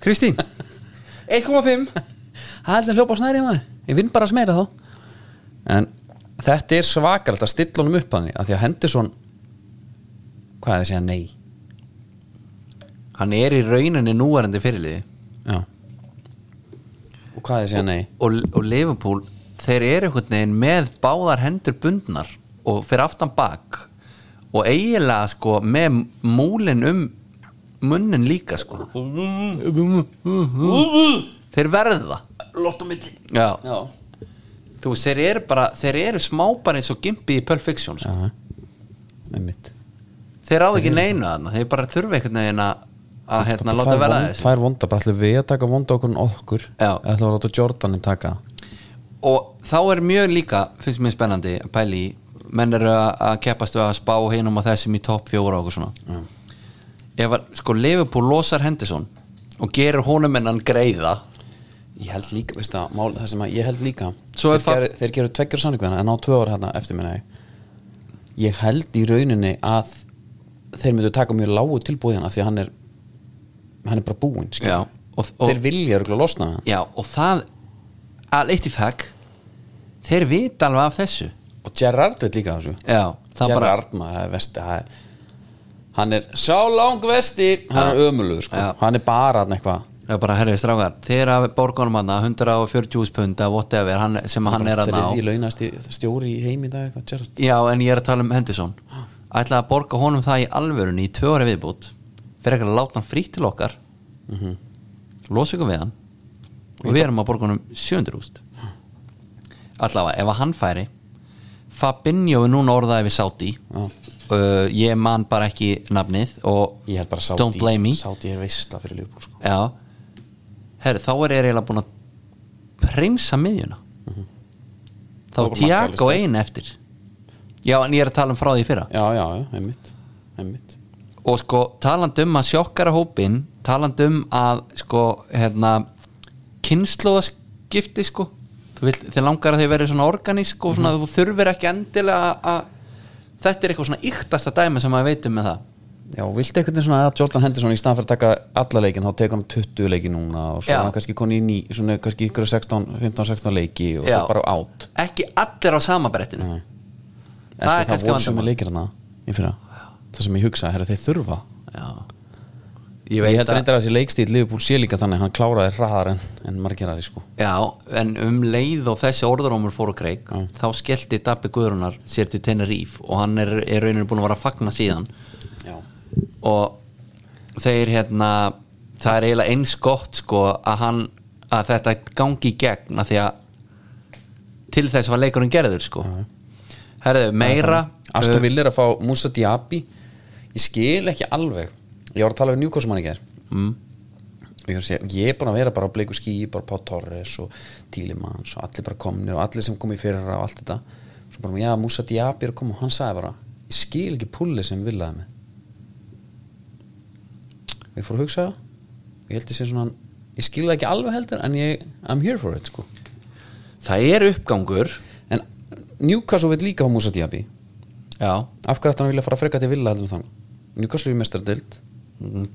Kristín [LAUGHS] 1,5
það er alltaf hljópa snæri maður ég vinn bara að smera þá en þetta er svakalt að stilla honum upp að því að því að Henderson hvað er það að segja nei
Hann er í rauninni núverandi fyrirliði
já og hvað er það að segja nei
og, og Liverpool, þeir eru einhvern veginn með báðar hendur bundnar og fyrir aftan bak og eiginlega sko með múlin um munnin líka sko þeir verða
lott á milli
Já,
já
þú veist, þeir eru bara þeir eru smápar eins og gimpi í Pulp Fiction sko.
með mitt
þeir ráð ekki neina þarna, þeir bara þurfa einhvern veginn að að hérna láta verða þessu
tvær vonda bara ætlum við að taka vonda okkur en okkur
Já.
Eða ætlum við að láta Jordanin taka það?
og þá er mjög líka, finnst mér spennandi að pæli í, menn eru að að keppast við að spá hinum og þessum í topp fjóra og okkur svona ef að sko Liverpool losar Henderson og gerir honum en hann greiða
ég held líka, veist það, mál, það sem að ég held líka
Svo
þeir,
er fa-
gerir, þeir gerur tveggjur sannig við hana en á tvö ára hérna eftir minna ég held í rauninni að þeir myndu taka mjög lágu tilbúið hana því að hann er hann er bara búinn, skil
Já, og- og-
þeir vilja örugglega losna við hann
já, og það að eitt í fag þeir vita alveg af þessu
og Gerrard veit líka af þessu
já, það bara
Gerrard, maður, það er vesti það er, hann er sá lang vesti hann er ömulugur, sko,
Já.
hann er bara hann eitthvað
Já, bara herrið strákar, þeir að borgunum hann 140 pund að whatever hann, sem hann er að
Þriðji
ná
launasti stjóri í heim í dag eitthvað, Gerrard
Já, en ég er að tala um Henderson ætla að borga honum það í alvörunni í tvö ára viðbútt fyrir ekki að láta hann frýtt til okkar mm
Mhm.
losa ykkur við hann og við erum að borga honum 700 úst allavega, ef að hann færi Fabinho er núna orðaði við Saudi
Já.
uh, ég man bara ekki nafnið og
ég held bara
don't blame me
Sáti, Sáti er veistla fyrir Ljúbúl, sko
Já Herri, þá er ég eiginlega búin að premsa miðjuna Þá
Mhm. Þá
er
er
Tiago
markalaust,
einn eftir Já, en ég er að tala um frá því í fyrra
já, já, já, einmitt, einmitt.
Og sko, taland um að sjokkara hópin Taland um að, sko, hérna Kynnslóðaskipti, sko Þú vilt, Þið langar að þau verið svona organísk Og svona, þú þurfir ekki endilega að- að Þetta er eitthvað svona yktasta dæmi sem maður veitum með það
já, viltu einhvern veginn svona að Jordan Henderson í staðan fyrir að taka alla leikin, þá tekur hann 20 leiki núna og svo
Já.
er hann kannski koni í ný, svona kannski ykkur 16, 15-16 leiki og
Já.
svo bara átt
Ekki allir á sama brettinu
en sko,
er
það
kannski
voru svona
vandamál.
leikir hana í fyrra, það sem ég hugsa, herra, þeir þurfa
Já
ég, held að reyndar að þessi leikstíl Liverpool sé líka þannig að hann kláraði hraðar en, en margir aðri sko
Já, en um leið og þessi orðurómur fór á kreik, þá skellti Dabbi Guðrunar sér til Teneríf og hann er, er rauninni búin að vera að fagna síðan
já.
og þeir hérna það er eiginlega eins gott sko að hann að þetta gangi í gegn að því að til þess var leikurinn gerður sko herðu meira uh, Eh.
Aston Villa er að fá Musa Diaby ég skil ekki alveg ég var að tala við Newcastle í gær
Mm.
og ég, var að segja, ég er búin að vera bara á bleiku skí bara Pá Torres og Tílimans og allir bara komnir og allir sem kom í fyrra og allt þetta svo bara, já, Musa Diaby er að koma og hann sagði bara, ég skil ekki pulli sem viljaði mig og ég fór að hugsa það og ég held þessi svona, ég skil það ekki alveg heldur en ég, I'm here for it, sko
það er uppgangur
en Newcastle vil líka á Musa Diaby
já,
af hverju ætti hann að vilja fara frekar til Villa heldur en þannig Newcastle er mestardelt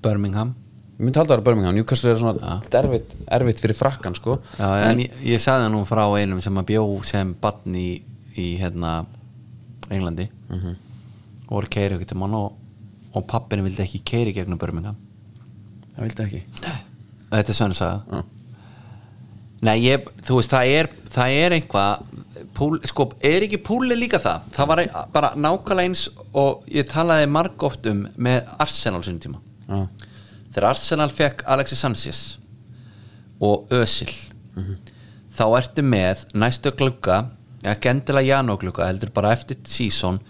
Birmingham
ég myndi halda að vera Birmingham, Newcastle er svona erfitt, erfitt fyrir frakkan sko
já, en, ég, ég sagði nú frá einum sem að bjó sem barn í, í hérna Englandi mm -hmm. og voru keiri okkur til mann og, og pappinu vildi ekki keiri gegnum Birmingham
það vildi ekki
þetta er sönnsaga Nei, ég, þú veist, það er, það er einhvað púl, sko, er ekki púli líka það það var ein- bara nákvæmlega eins og ég talaði marg oft um með Arsenal sinni tíma
já,
þegar Arsenal fekk Alexis Sanchez og Özil þá ertu með næstu glugga ekki endilega janúglugga, heldur bara eftir season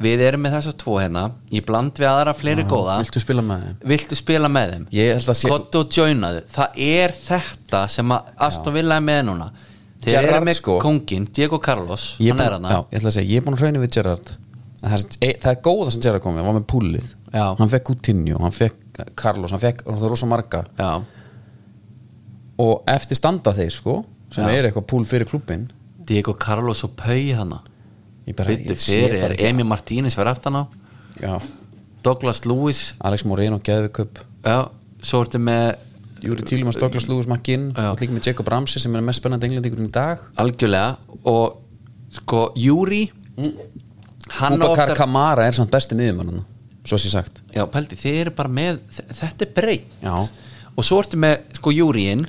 við erum með þessa tvo hérna ég bland við aðra fleiri góða
viltu spila með þeim?
viltu spila með þeim
Ég held að sé-
Kottu og joinaðu það er þetta sem að Aston Villa er með núna þeir
Gerrard,
eru með
sko.
kóngin Diego Carlos
Ég
hann
búin,
er hana
já, ég ætla að segja, ég er búin að hrauna við Gerrard En það, er- e, það er góða sem Gerrard kom við, hann var með púlið
Já.
hann fekk Coutinho, hann fekk Carlos hann fekk hann rosa marga
já,
og eftir standa þeir sko sem
Já.
er eitthvað púl fyrir klubbin
Diego Carlos og Pau hana
ég bara,
Bittu
ég sé
fyrir,
bara
er
ekki-
Emi Martínez fyrir aftan á
já,
Douglas Lewis
Alex Moreno, Geðvikup
já, svo ertu með
Júri Tílumans, Douglas Lewis, McGinn
Eh, Já.
og líka með Jacob Ramsey sem er mest spennandi englendingurinn í dag
algjörlega og sko, Júri
Mm.
hann á
Búbakar
oftar-
Kamara er samt besti miðjumann svo sé sagt
já, pældi, þið eru bara með þ- þetta er breytt
Já.
og svo ertu með, sko, Júriinn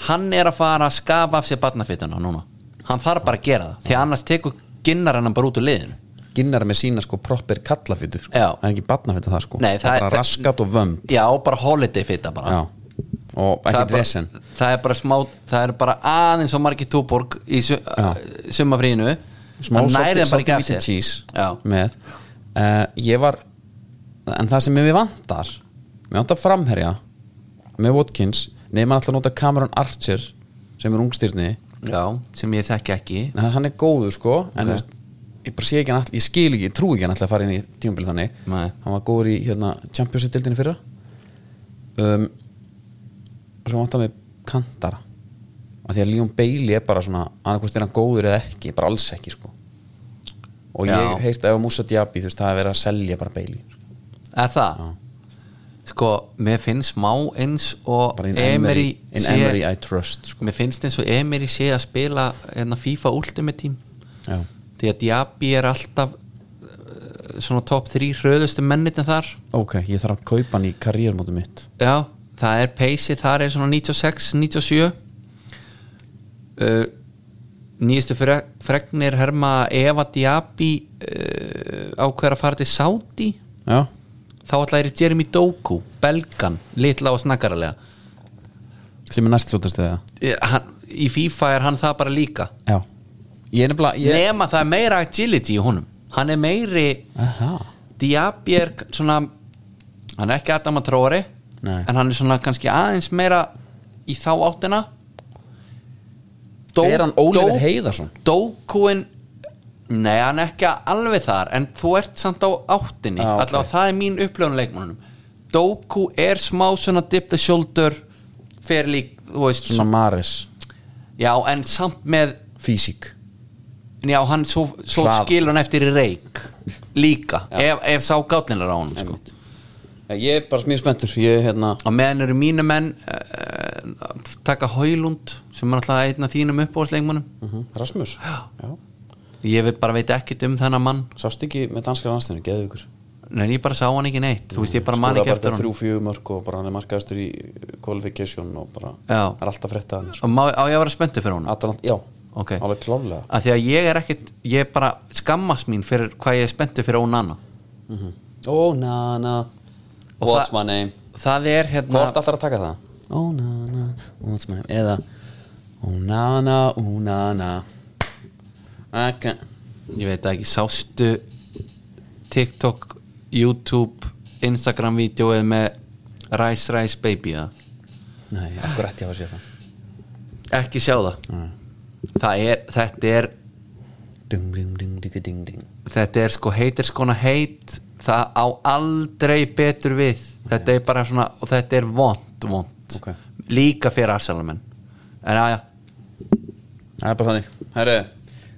hann er að fara að skafa af sér barnafituna núna, hann þarf bara að gera það því að annars tekur ginnar hann bara út úr liðinu
Ginnar er með sína sko proper kallafytu sko.
Já.
það er ekki barnafytu það sko
Nei,
það er
það-
bara raskat og vömb
já, bara holiday fita bara
Já. og
það, er
ekkert
bara,
vesen
það er bara smá það er bara aðeins og margir túborg í su, uh, sumafrínu
smá
Hann
salti-
nærir þeim bara
salti
ekki af
meat and
sér.
cheese
já,
með uh, ég var en það sem mér vantar mér vantar framherja með Watkins nefnir alltaf að nota Cameron Archer sem er ungstyrni
já, sem ég þekki ekki
Nei, hann er góður sko en
Ok.
þú veist, ég bara sé ekki hann all, ég skil ekki, ég trú ekki hann alltaf að fara inn í tímabil þannig
Nei.
hann var góður í hérna, Champions-dildinni fyrra um, og svo vantar mig kantara af því að Leon Bailey er bara svona annarkvist er hann góður eða ekki, bara alls ekki sko og
Já.
ég heyrti ef að Musa Diaby, þú veist, það er verið að selja bara Bailey sko.
eða það sko, mér finnst má eins og
bara in
Emery
Emery, in
sé-
Emery I trust sko.
mér finnst eins og Emery sé að spila enna FIFA Ultimate Team
Já.
því að Diaby er alltaf eh, svona top 3 hröðustu mennitin þar
ok, ég þarf að kaupa hann í karriérmótu mitt
já, það er peysi þar er svona 96, 97 uh, nýjastu fre- fregnir herma að ef að Diaby uh, ákveður að fara til Saudi
já,
þá alltaf er Jeremy Doku belgan, litla og snakkaralega
sem er næst fljótast eða
Eh, hann, í FIFA er hann það bara líka
já, ég er nefnilega ég...
nema það er meira agility í honum hann er meiri
Aha.
Diaby er svona hann er ekki Adam að tróri
Nei.
en hann er svona kannski aðeins meira í þá áttina Dó,
er hann Ólífur Heiðarsson?
Dókúin nei, hann er ekki alveg þar en þú ert samt á áttinni
Ah, ok.
allavega það er mín upplöfun á leikmannunum Dókú er smá svona dip the shoulder fer lík, þú veist
svona Maris
já, en samt með
físík
já, hann svo, svo
Hlað.
skilur hann eftir í reik líka, ef, ef sá gátlinlega á hann sko.
Einmitt. ég er bara mjög spenntur ég er hérna
á meðan eru mínu menn uh, taka Hólund sem er alltaf einn af þínum uppbóðsleikmannum
Rasmus Mhm. Já.
ég veit, bara veit ekkit um þennan mann
sást ekki með danskara landstæðinu, geðu ykkur
en ég bara sá hann ekki neitt þú veist ég bara man ekki eftir hann
þrjú fjögur mörg og bara hann er markaðastur í qualification og bara
Já.
er alltaf frétta hann sko.
og má, á ég að vera spenntu fyrir hann
Atalant, já,
Ok.
alveg klálega
að því að ég er ekkit, ég bara skammast mín fyrir hvað ég er spenntu fyrir Onana
ó na na,
Og
what's
það-
my name
það er hérna
Hvort allar að taka það? Oh na na, what's my name Eða Oh na na, oh na na Akka
ég veit það ekki, sástu TikTok, YouTube Instagram vídeóið með Rice Rice Baby eða?
Nei, akkurat ég hafa séð það
ekki sjá það það er, þetta er
Dung, dung, dung, dung, dung, dung
þetta er sko heitir skona heit það á aldrei betur við þetta er bara svona og þetta er vond, vond
Ok.
líka fyrir Arsalamenn en aðja,
Það er bara þannig Herre,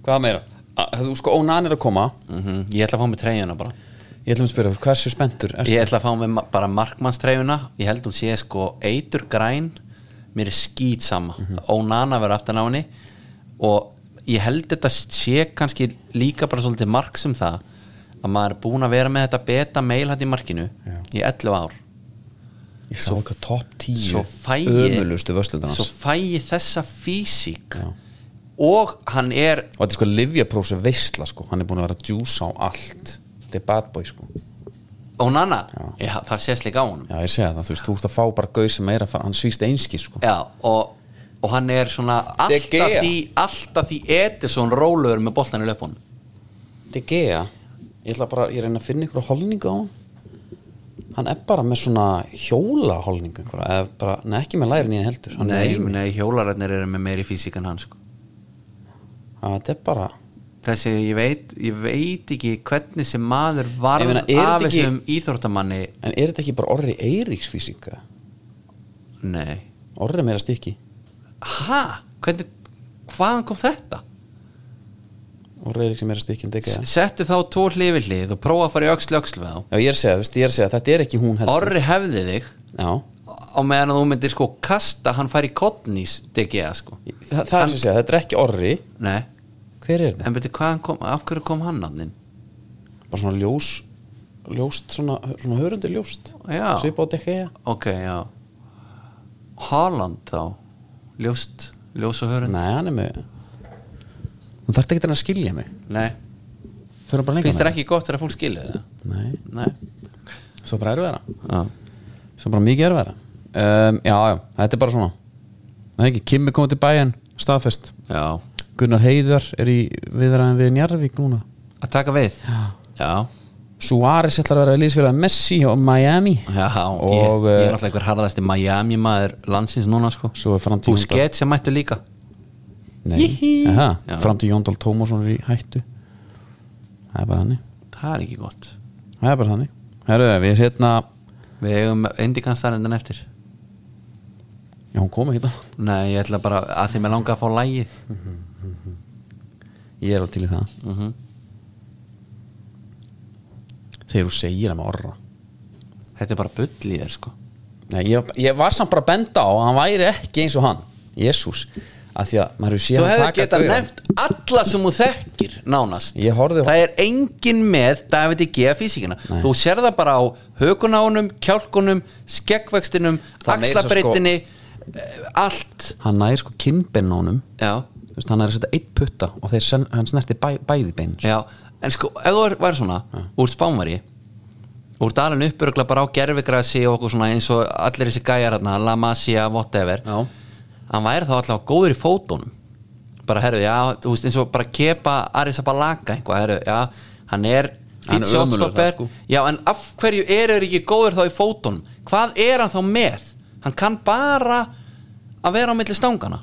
hvað meira? A- Þú sko, oh na na er að koma
mm ég ætla að fá mig treyjuna bara
Ég ætlum að spyrja, hversu spenntur ertu?
ég ætla að fá mig ma- bara markmannstreyjuna ég held hún sé sko eitur græn mér er skýt sama
Mhm.
ónana verður aftan á henni og ég held þetta sé kannski líka bara svolítið mark sem það að maður er búin að vera með þetta beta meil hætt í markinu
Já.
í 11 ár
Ég sá eitthvað topp 10
svo fæ ég
Ömulustu vöslundan
svo
hans
fæ ég þessa físík
Já.
og hann er
Og þetta er sko livjaprósu veistla sko Hann er búin að vera að djúsa á allt Þetta er bad boy sko
ónana,
Já.
já, það sést líka á honum
Já, ég segja það, þú veist, þú ert að fá bara gauð sem er að fara Hann svíst einski sko
já, og, og hann er svona
De
alltaf
Gea.
því, alltaf því Edison róluður með boltan í löpunum
De Gea ég ætla bara, ég reyna að finna ykkur holningu á hann hann er bara með svona hjóla holningu einhverja, eða bara, nei ekki með lærin í það heldur hann
nei,
er einu,
nei, hjólararnir eru með meiri físík en hann sko.
að þetta er bara
þessi, ég veit, ég veit ekki hvernig sem maður varð
Ég meina, er
af
þetta ekki-
þessum íþórtamanni
en er þetta ekki bara orri Eiríksfísíka
nei,
orri meira stikki,
ha, hvernig hvaðan kom þetta?
orri Eiríks er meira stikki en De Gea
S- settu þá tvo hlið við hlið og prófa að fara í öxlu öxlu við þá
já, ég er að segja, veist, ég er að segja, þetta er ekki hún heldur
Orri hefði þig
já,
á meðan að þú myndir sko kasta hann fær í kottnís DGA sko
það, það er sem ég segja, þetta er ekki orri
Nei,
hver er þetta?
en betur hvaðan kom, af hverju kom hann hann inn?
bara svona ljós ljóst, svona, svona hörundi ljóst
Já.
svipa á De Gea
Ok, já Haaland þá Ljóst, ljós og hörun
nei, hann er með þú þarft ekki að skilja mig
Nei,
Förum bara lengra
finnst þér
með
ekki gott þegar fólk skilja það?
það. Nei,
Nei
svo bara erfiðara
Já,
Svo bara mikið erfiðara um, Já, já, þetta er bara svona Það er ekki, Kimmi komið til bæinn, staðfest
já.
Gunnar Heiðar er í viðræðan við Njarðvík núna
Að taka við Já, já,
Suárez ætlar að vera liðsfélag Messi og Miami
ég,
Og, eh,
ég er alltaf einhver harðasti Miami maður landsins núna sko
Svo er framtíð
Busquets sem mættu líka
Nei,
Já.
aha, fram til Jóndal Tómasson er í hættu Það er bara hannig
Það er ekki gott
Það er bara hannig Herru, við hérna
Við eigum indikanstarrendan eftir
Já, hún kom ekki það
Nei, ég ætla bara að því mér langa að fá lægið
Ég er á til í það
Mhm.
Þegar þú segir það með orra
Þetta er bara bull í þér sko
Nei, ég, ég var samt bara að benda á að hann væri ekki eins og hann Jésús að því að maður hefur séð
Þú
hann
hefði
taka
getað
gauran.
nefnt alla sem þú þekkir nánast
Ég horfði-
Það er engin með David G. físikina
Nei.
Þú sér það bara á hökunánum, kjálkunum, skeggvextinum,
Það sko. meira svo
axlabreytinni eh, Allt
hann nær sko kinnbennónum
Já,
þú veist, hann er að setja eitt putta og þeir sen, hann snerti bæ, bæði bein sko.
já En sko, ef þú væri svona Úr spánvari Úr dalinu uppurugla bara á gerfigrasi og okkur svona eins og allir þessi gæjar hérna, La Masia, whatever
Já.
Hann væri þá allavega góður í fótunum bara herru, já, þú veist eins og bara kepa Arisabalaga eitthvað, herru, já hann er
Hann
fínn
er
shotstopper.
ömurlegur þar, sko.
já, en af hverju eru þeir ekki góður þá í fótunum, hvað er hann þá með hann kann bara að vera á milli stangana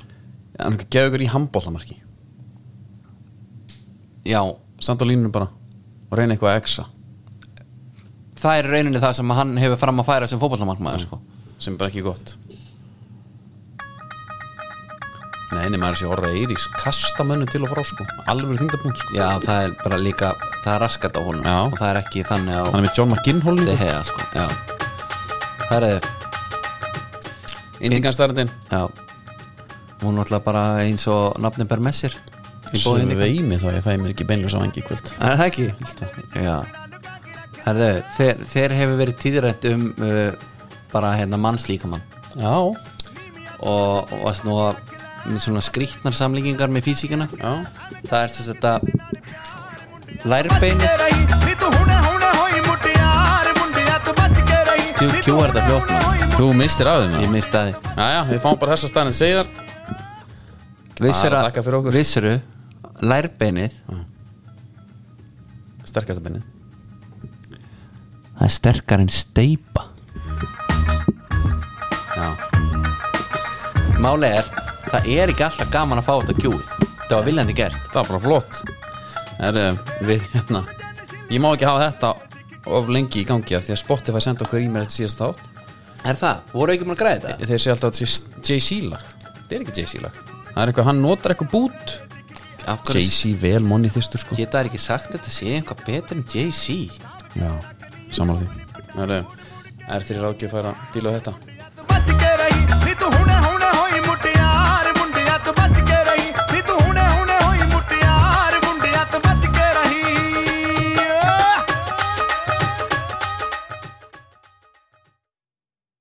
hann gefa ykkur í handbóllamarki
já,
samt á línunum bara og reyna eitthvað að exa
það er í rauninni það sem hann hefur fram að færa sem fótballamarkmaður, sko
sem er bara ekki gott nei, nei, maður sé orra Eiríks kasta mönnum til og frá sko alveg þingdapunkt sko
já, það er bara líka, það er raskat á honum
Já.
og það er ekki þannig á
hann er með John McGinn
De
holningu
Gea, sko, já herru,
indinganstarðin
já hún er alltaf bara eins og nafnin ber með sér í
svo
bóðinni,
við
sko.
veimi þá ég fæ mér ekki beinljós á vangi í kvöld
Er það ekki? Já Herðu, þeir, þeir hefur verið tíðrætt um uh, bara hérna mannslíkamann
já,
og, og að snúa með svona skrýtnar samlíkingar með físíkina
já
það er þess að þetta lærbeinið
रही नी तू हुने हुने होई मुटियार मुंडिया तू बच के रही
Djú, djú er þetta fljótt maður.
Þú mistir af þeim
Ég
það
misti að
Jæja, við fáum bara þessa staðin segjar
þið Vissir
Bara þakka fyrir
að
okkur.
Vissir að Lærbeinið
Sterkasta bennið
Það er sterkar en steipa Já Máli er Það er ekki alltaf gaman að fá þetta kjúið Það var viljandi gert
Það var bara flott Herru, við hérna Ég má ekki hafa þetta of lengi í gangi af því að Spotify senda okkur e-mail eftir síðast þátt
Er það? Voru ekki maður að græða þetta?
Þeir segja alltaf að þetta sé Jay-Z lag Þetta er ekki Jay-Z lag Það er eitthvað, hann notar eitthvað bút
Af hverju
Jay-Z vel monni þýstur sko
geta þær ekki sagt þetta sé eitthvað betur en Jay-Z?
Já, samanlega því Herru, er þeir ráðgjöf að fara að díla við þetta?
Bætti gera hít, lítu hún er há